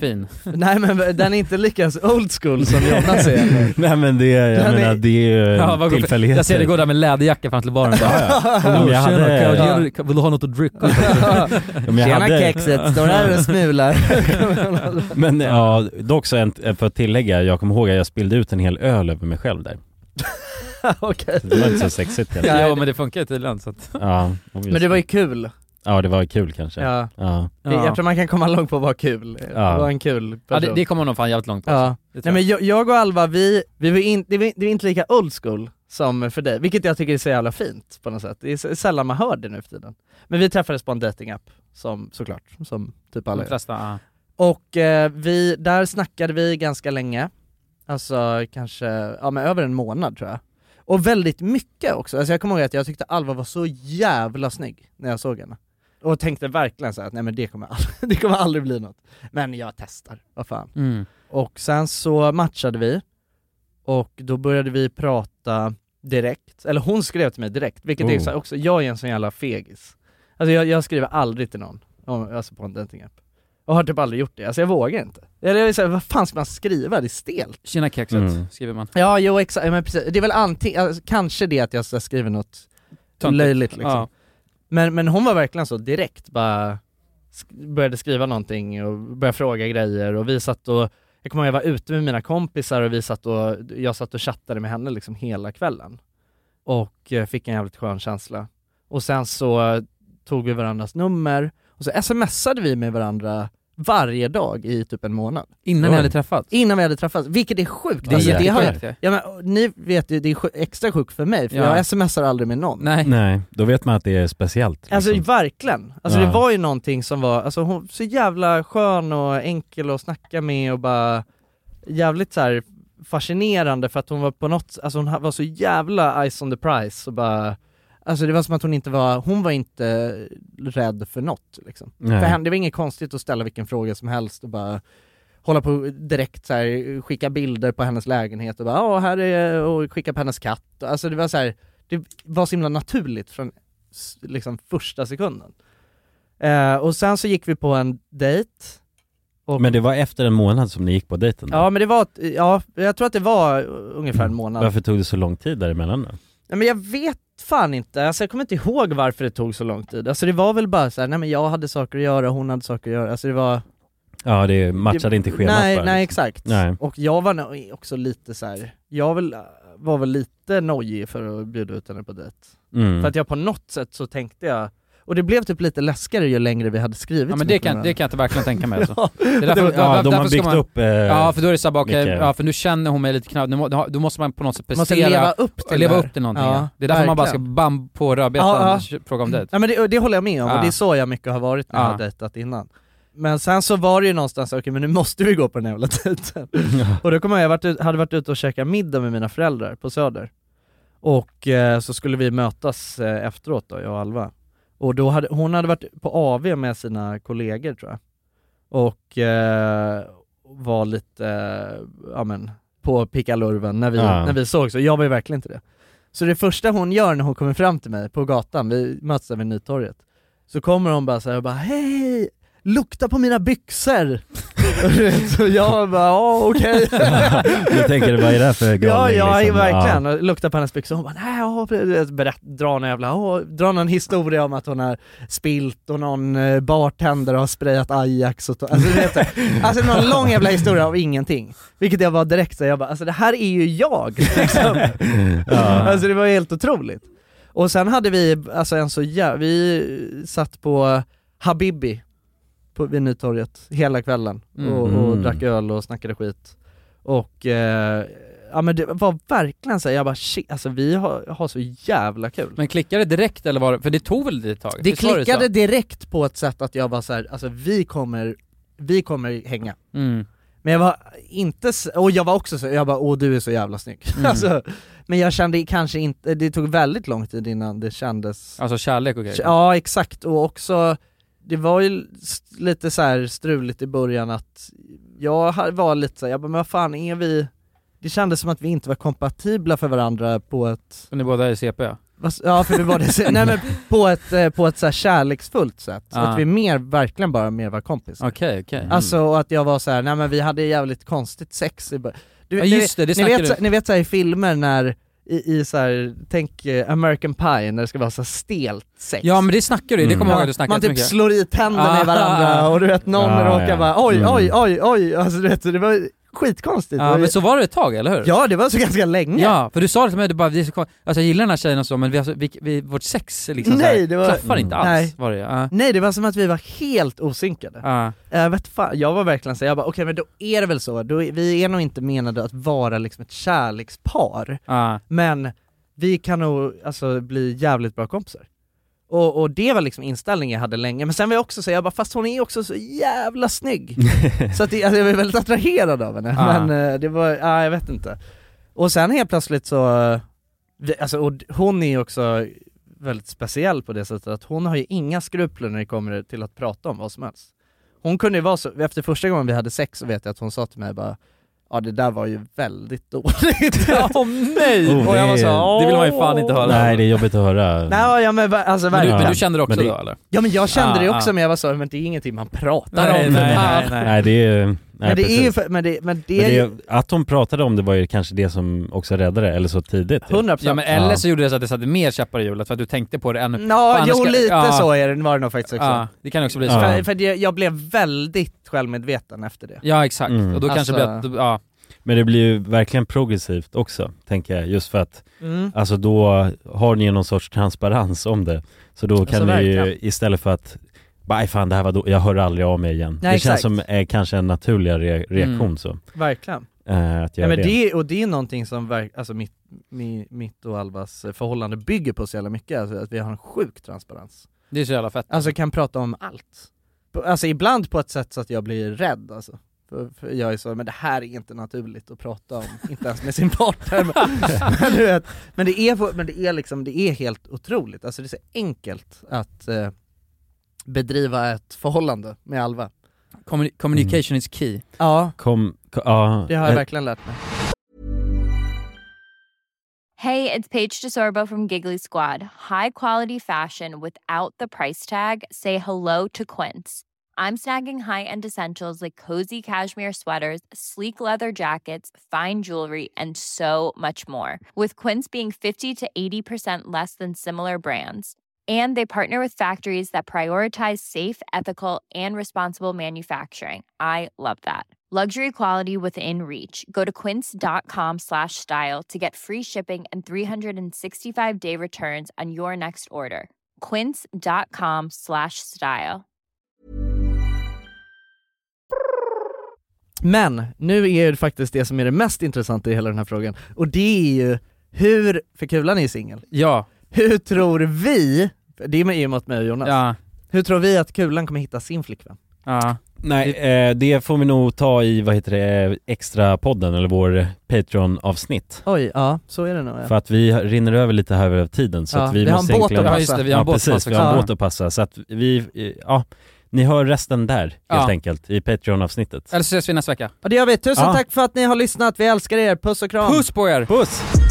S2: Fin.
S1: *laughs* Nej men den är inte lika old school
S3: *laughs*
S1: som Jonas är.
S3: Nej men det, jag
S1: Den är-
S3: menar det är ju
S2: Ja, vad-
S3: tillfälligheter.
S2: Jag ser det gå där med läderjacka fram till baren och bara,
S1: *laughs*
S3: Ja, ja.
S2: "Hallå,
S3: Om jag
S2: tjena,
S3: hade-
S2: kan jag ge dig- vill du ha något att dricka?
S3: Om jag hade-
S1: smular?
S3: *laughs* Men ja, dock så en, för att tillägga, jag kommer ihåg att jag spillde ut en hel öl över mig själv där.
S1: *laughs* Okej.
S3: Det var inte så sexigt kanske.
S2: *laughs* Ja, men det funkar ju tydligen så att...
S3: Ja,
S1: Men det var ju kul.
S3: Ja det var kul kanske.
S1: Ja.
S3: Ja.
S1: Det- Jag tror man kan komma långt på att vara kul.
S3: Ja.
S1: Vara en kul
S2: Ja,
S1: person.
S2: det, det kommer nog fan jävligt långt på.
S1: Ja.
S2: Det tror
S1: Nej men jag, jag och Alva, vi, vi var, in, det var, det var inte lika old school som för dig, vilket jag tycker är så jävla fint på något sätt. Det är s- sällan man hör det nu för tiden. Men vi träffades på en datingapp som såklart, som typ alla
S2: De
S1: gör.
S2: flesta, ja.
S1: Och eh, vi, där snackade vi ganska länge, alltså kanske, ja men över en månad tror jag. Och väldigt mycket också, alltså jag kommer ihåg att jag tyckte Alva var så jävla snygg när jag såg henne. Och tänkte verkligen så här att nej men det kommer, aldrig, *laughs* det kommer aldrig bli något. Men jag testar, vad fan.
S2: Mm.
S1: Och sen så matchade vi, och då började vi prata direkt, eller hon skrev till mig direkt, vilket är
S3: Oh.
S1: så här också, jag är en sån jävla fegis. Alltså jag, jag skriver aldrig till någon, om- alltså på en datingapp. Och har typ aldrig gjort det, alltså jag vågar inte. Eller jag är så här, vad fan ska man skriva? Det är stelt.
S2: Tjena kexet,
S3: Mm.
S2: skriver man.
S1: Ja, jo exakt, Ja, men precis. Det är väl antingen, alltså, kanske det att jag så här skriver något
S2: Töntigt.
S1: löjligt liksom.
S2: Ja.
S1: Men, men hon var verkligen så direkt bara sk- började skriva någonting och började fråga grejer och vi satt och, jag kommer ihåg jag var ute med mina kompisar och vi satt och, jag satt och chattade med henne liksom hela kvällen. Och eh, fick en jävligt skön känsla. Och sen så eh, tog vi varandras nummer och så smsade vi med varandra varje dag i typ en månad.
S2: Innan ni hade träffat.
S1: Innan vi hade träffats, vilket är sjukt.
S2: Det är
S1: Alltså,
S3: jäklar.
S1: har jag,
S2: jättesjukt ju.
S1: ja, men, och ni vet ju, det är sj- extra sjukt för mig för
S2: Ja.
S1: jag smsar aldrig med någon.
S2: Nej.
S3: Nej, då vet man att det är speciellt.
S1: Alltså
S3: liksom.
S1: verkligen. Alltså
S3: Ja.
S1: det var ju någonting som var, alltså hon så jävla skön och enkel att snacka med och bara jävligt så här fascinerande för att hon var på något, alltså hon ha- var så jävla eyes on the prize och bara Alltså det var som att hon inte var, hon var inte rädd för något liksom.
S3: Nej.
S1: För henne, det var inget konstigt att ställa vilken fråga som helst och bara hålla på direkt så här, skicka bilder på hennes lägenhet och bara ja här är, och skicka på hennes katt. Alltså det var så här, det var så himla naturligt från s- liksom första sekunden. Eh, och sen så gick vi på en dejt. Och,
S3: Men det var efter en månad som ni gick på dejten? då?
S1: Ja men det var, ett- ja jag tror att det var eh, ungefär en månad.
S3: Varför tog det så lång tid däremellan då?
S1: Nej, men jag vet fan inte, alltså, jag kommer inte ihåg varför det tog så lång tid. Alltså det var väl bara så här, nej men jag hade saker att göra, hon hade saker att göra. Alltså det var...
S3: Ja, det matchade inte schemat
S1: Nej,
S3: bara,
S1: nej
S3: liksom.
S1: exakt.
S3: Nej.
S1: Och jag var nog också lite så här. jag väl, var väl lite nojig för att bjuda ut henne på dejt.
S3: Mm.
S1: För att jag på något sätt så tänkte jag, och det blev typ lite läskigare ju längre vi hade skrivit
S2: Ja men
S1: så
S2: det
S1: mycket
S2: kan,
S1: med
S2: det kan jag inte verkligen tänka mig alltså.
S1: varandra.
S2: Det är därför,
S3: Ja,
S2: var-
S3: de
S2: därför
S3: har
S2: ska
S3: byggt
S2: man,
S3: upp... Eh,
S2: Ja för då är det såhär bara okej,
S3: mycket.
S2: ja för nu känner hon mig lite knappt, nu må- då måste man på något sätt
S1: Man
S2: prestera,
S1: måste leva upp till
S2: leva
S1: det.
S2: upp till någonting
S1: Ja,
S2: ja. Det är därför man bara ska
S1: verkligen.
S2: bam på rödbetan
S1: Ja, ja.
S2: och kö- fråga om dejt. Ah.
S1: Ja men det, det håller jag med om,
S2: Ja.
S1: och det är så jag mycket har varit när jag
S2: Ja.
S1: har dejtat innan. Men sen så var det ju någonstans, okej men nu måste vi gå på den här jävla
S2: *laughs*
S1: dejten. Och då kom jag, jag varit, ut- hade varit ute och käkat middag med mina föräldrar på Söder. Och eh, så skulle vi mötas eh, efteråt då, jag och Alva. Och då hade, hon hade varit på AV med sina kollegor tror jag. Och eh, var lite, eh, ja men, på pickalurven när vi,
S3: Ja.
S1: när vi såg så. Jag var ju verkligen inte det. Så det första hon gör när hon kommer fram till mig på gatan, vi möts där vid Nytorget, så kommer hon bara så här och bara hej, lukta på mina byxor! *laughs* så jag bara ja okej.
S3: *laughs* du tänker du, vad är det här för
S1: Ja,
S3: galning?
S1: ja
S3: liksom?
S1: verkligen. Och Luktar på hennes byxor, hon bara nej, ja, precis." berätt, dra någon jävla, åh, dra någon historia om att hon har spilt och någon eh, bartender har sprayat Ajax och to- alltså, du vet, det. alltså någon lång jävla historia av ingenting. Vilket jag var direkt så här, jag bara, alltså det här är ju jag! *laughs* Liksom. *laughs* Alltså det var ju helt otroligt. Och sen hade vi, alltså en så jä- vi satt på Habibi på, vid Nytorget hela kvällen och, och
S3: Mm.
S1: drack öl och snackade skit. Och eh, ja men det var verkligen såhär, jag bara shit, alltså vi har, har så jävla kul.
S2: Men klickade det direkt eller var det, för det tog väl ett tag?
S1: det
S2: Visst var så?
S1: klickade direkt på ett sätt att jag var såhär, alltså vi kommer, vi kommer hänga.
S2: Mm.
S1: Men jag var inte, s- och jag var också så, jag bara åh du är så jävla snygg. *laughs* Alltså, men jag kände kanske inte, det tog väldigt lång tid innan det kändes
S2: Alltså kärlek och grejer?
S1: Ja exakt, och också det var ju s- lite så här struligt i början att jag ha- var lite så här, jag bara men vad fan är vi det kändes som att vi inte var kompatibla för varandra på ett,
S2: Och ni båda är CP?
S1: vad s- ja för vi var det, så- nej men på ett, eh, på ett så här kärleksfullt sätt.
S2: Ah.
S1: Att vi mer, verkligen bara mer var kompisar.
S2: Okej, okej.
S1: Alltså och att jag var så här, nej men vi hade jävligt konstigt sex i bör- du,
S2: Ja,
S1: ni-
S2: just det, det
S1: ni,
S2: snackade
S1: vet,
S2: du.
S1: så- ni vet såhär i filmer när, i, i såhär, tänk eh, American Pie när det ska vara så här stelt sex
S2: Ja men det snackar du det kommer jag ihåg att du snackade
S1: man typ
S2: mycket.
S1: slår i tänderna i varandra
S2: Ah. *laughs*
S1: och du vet någon
S3: Ah,
S1: råkar
S3: ja.
S1: bara oj,
S3: Mm.
S1: oj, oj, oj, alltså du vet så det var skitkonstigt.
S2: Ja men så var det ett tag, eller hur?
S1: Ja, det var så ganska länge.
S2: Ja, för du sa det till mig, du bara, vi är så kon- alltså jag gillar den här tjejen och så men vi, alltså, vi, vi, vårt sex liksom
S1: Nej,
S2: så här,
S1: det var- Mm,
S2: klaffar inte alls
S1: Nej.
S2: var det ja.
S1: Nej det var som att vi var helt osynkade. *laughs*
S2: Ja.
S1: Jag vet fan, jag var verkligen så jag bara okej men då är det väl så, då är, vi är nog inte menade att vara liksom ett kärlekspar,
S2: Ja.
S1: men vi kan nog alltså bli jävligt bra kompisar. Och, och det var liksom inställningen jag hade länge, men sen var jag också så jag bara fast hon är också så jävla snygg. så att det, alltså, jag var väldigt attraherad av henne,
S2: Ja.
S1: men eh, det var, ja jag vet inte. Och sen helt plötsligt så, eh, vi- alltså och d- hon är ju också väldigt speciell på det sättet att hon har ju inga skrupler när det kommer till att prata om vad som helst. Hon kunde ju vara så, efter första gången vi hade sex så vet jag att hon sa till mig bara Ja det där var ju väldigt
S2: *laughs*
S1: dåligt.
S2: Åh nej!
S3: Oh,
S1: och jag var så,
S3: det-
S2: det vill man ju fan inte höra.
S3: Nej det är jobbigt att
S1: *laughs*
S3: höra.
S1: Nej ja, men va- alltså
S2: Men du,
S1: verkligen.
S2: men du kände det också
S3: Men det-
S2: då eller?
S1: Ja men jag kände
S2: Ah,
S1: det också
S2: ah.
S1: men jag var så, men det är ingenting man pratar
S2: Nej,
S1: om.
S2: nej,
S1: Ah.
S2: nej, nej.
S3: Nej det är nej,
S1: men det är ju,
S3: precis.
S1: för, men det, men det
S3: Men
S1: är
S3: det
S1: ju,
S3: är, att hon pratade om det var ju kanske det som också räddade eller så tidigt. ju.
S1: 100%
S2: Ja men eller
S3: Ja.
S2: så gjorde det så att det satte mer käppar i hjulet för att du tänkte på det ännu
S1: Ja,
S2: Fan,
S1: jo
S2: ska-
S1: lite
S2: ja.
S1: så är det, var det nog faktiskt också. Alltså,
S2: Ja, det kan ju också bli så.
S3: Ja.
S2: Ja,
S1: För, för det, jag blev väldigt självmedveten efter det.
S2: exakt,
S3: Mm.
S2: och då kanske det
S1: Alltså-
S2: blir att, ja,
S3: Men det blir ju verkligen progressivt också, tänker jag. Just för att
S1: Mm.
S3: alltså då har ni ju någon sorts transparens om det. Så då kan ni ju
S1: Alltså, verkligen.
S3: istället för att Nej fan det här var då, jag hör aldrig av mig igen.
S1: Nej,
S3: det
S1: exakt.
S3: känns som eh, kanske en naturligare re- reaktion
S2: Mm.
S3: så.
S1: Verkligen.
S3: Eh, att
S1: Ja,
S3: göra
S1: men
S3: det.
S1: det, och det är någonting som verk, alltså mitt, mi, mitt och Alvas förhållande bygger på så jävla mycket, alltså att vi har en sjuk transparens.
S2: det är så jävla fett.
S1: Alltså kan prata om allt. På- Alltså ibland på ett sätt så att jag blir rädd alltså. För, för jag är så, men det här är inte naturligt att prata *laughs* om, inte ens med sin partner. Men, *laughs* men, du vet, men, det, är, på- men det, är liksom, det är helt otroligt, alltså det är så enkelt att eh, bedriva ett förhållande med Alva.
S2: Communi- communication
S3: Mm.
S2: is key.
S1: Ja,
S3: Kom, ko- ja,
S1: det har jag
S3: eh,
S1: verkligen lärt mig.
S7: Hey, it's Paige DeSorbo from Giggly Squad. High quality fashion without the price tag. Say hello to Quince. I'm snagging high-end essentials like cozy cashmere sweaters, sleek leather jackets, fine jewelry, and so much more. With Quince being 50 to 80% less than similar brands. And they partner with factories that prioritize safe, ethical, and responsible manufacturing. I love that. Luxury quality within reach. Go to quince.com slash style to get free shipping and 365 day returns on your next order. Quince.com slash style.
S1: Men nu är det faktiskt det som är det mest intressanta i hela den här frågan, och det är ju hur, för Kulan är singel,
S2: Ja,
S1: hur tror vi, det är med- i och med att mig och Jonas,
S2: ja,
S1: hur tror vi att Kulan kommer hitta sin flickvän?
S2: ja.
S3: Nej, eh, det får vi nog ta i, vad heter det, extra podden eller vår Patreon-avsnitt.
S1: Oj, ja så är det nog ja.
S3: För att vi rinner över lite här över tiden så
S1: Ja,
S3: att vi,
S1: vi har en
S3: måste
S1: båt
S3: egentligen...
S1: att
S2: Ja just det, vi har en
S3: ja,
S2: båt
S3: precis,
S2: passa
S3: vi har en
S2: också.
S3: båt att passa. Så att vi, eh, ja, ni hör resten där helt
S2: Ja.
S3: enkelt i Patreon-avsnittet.
S2: Eller så ses vi nästa vecka.
S1: Och det gör vi, tusen
S3: Ja.
S1: tack för att ni har lyssnat, vi älskar er, puss och kram!
S2: Puss på er!
S3: Puss!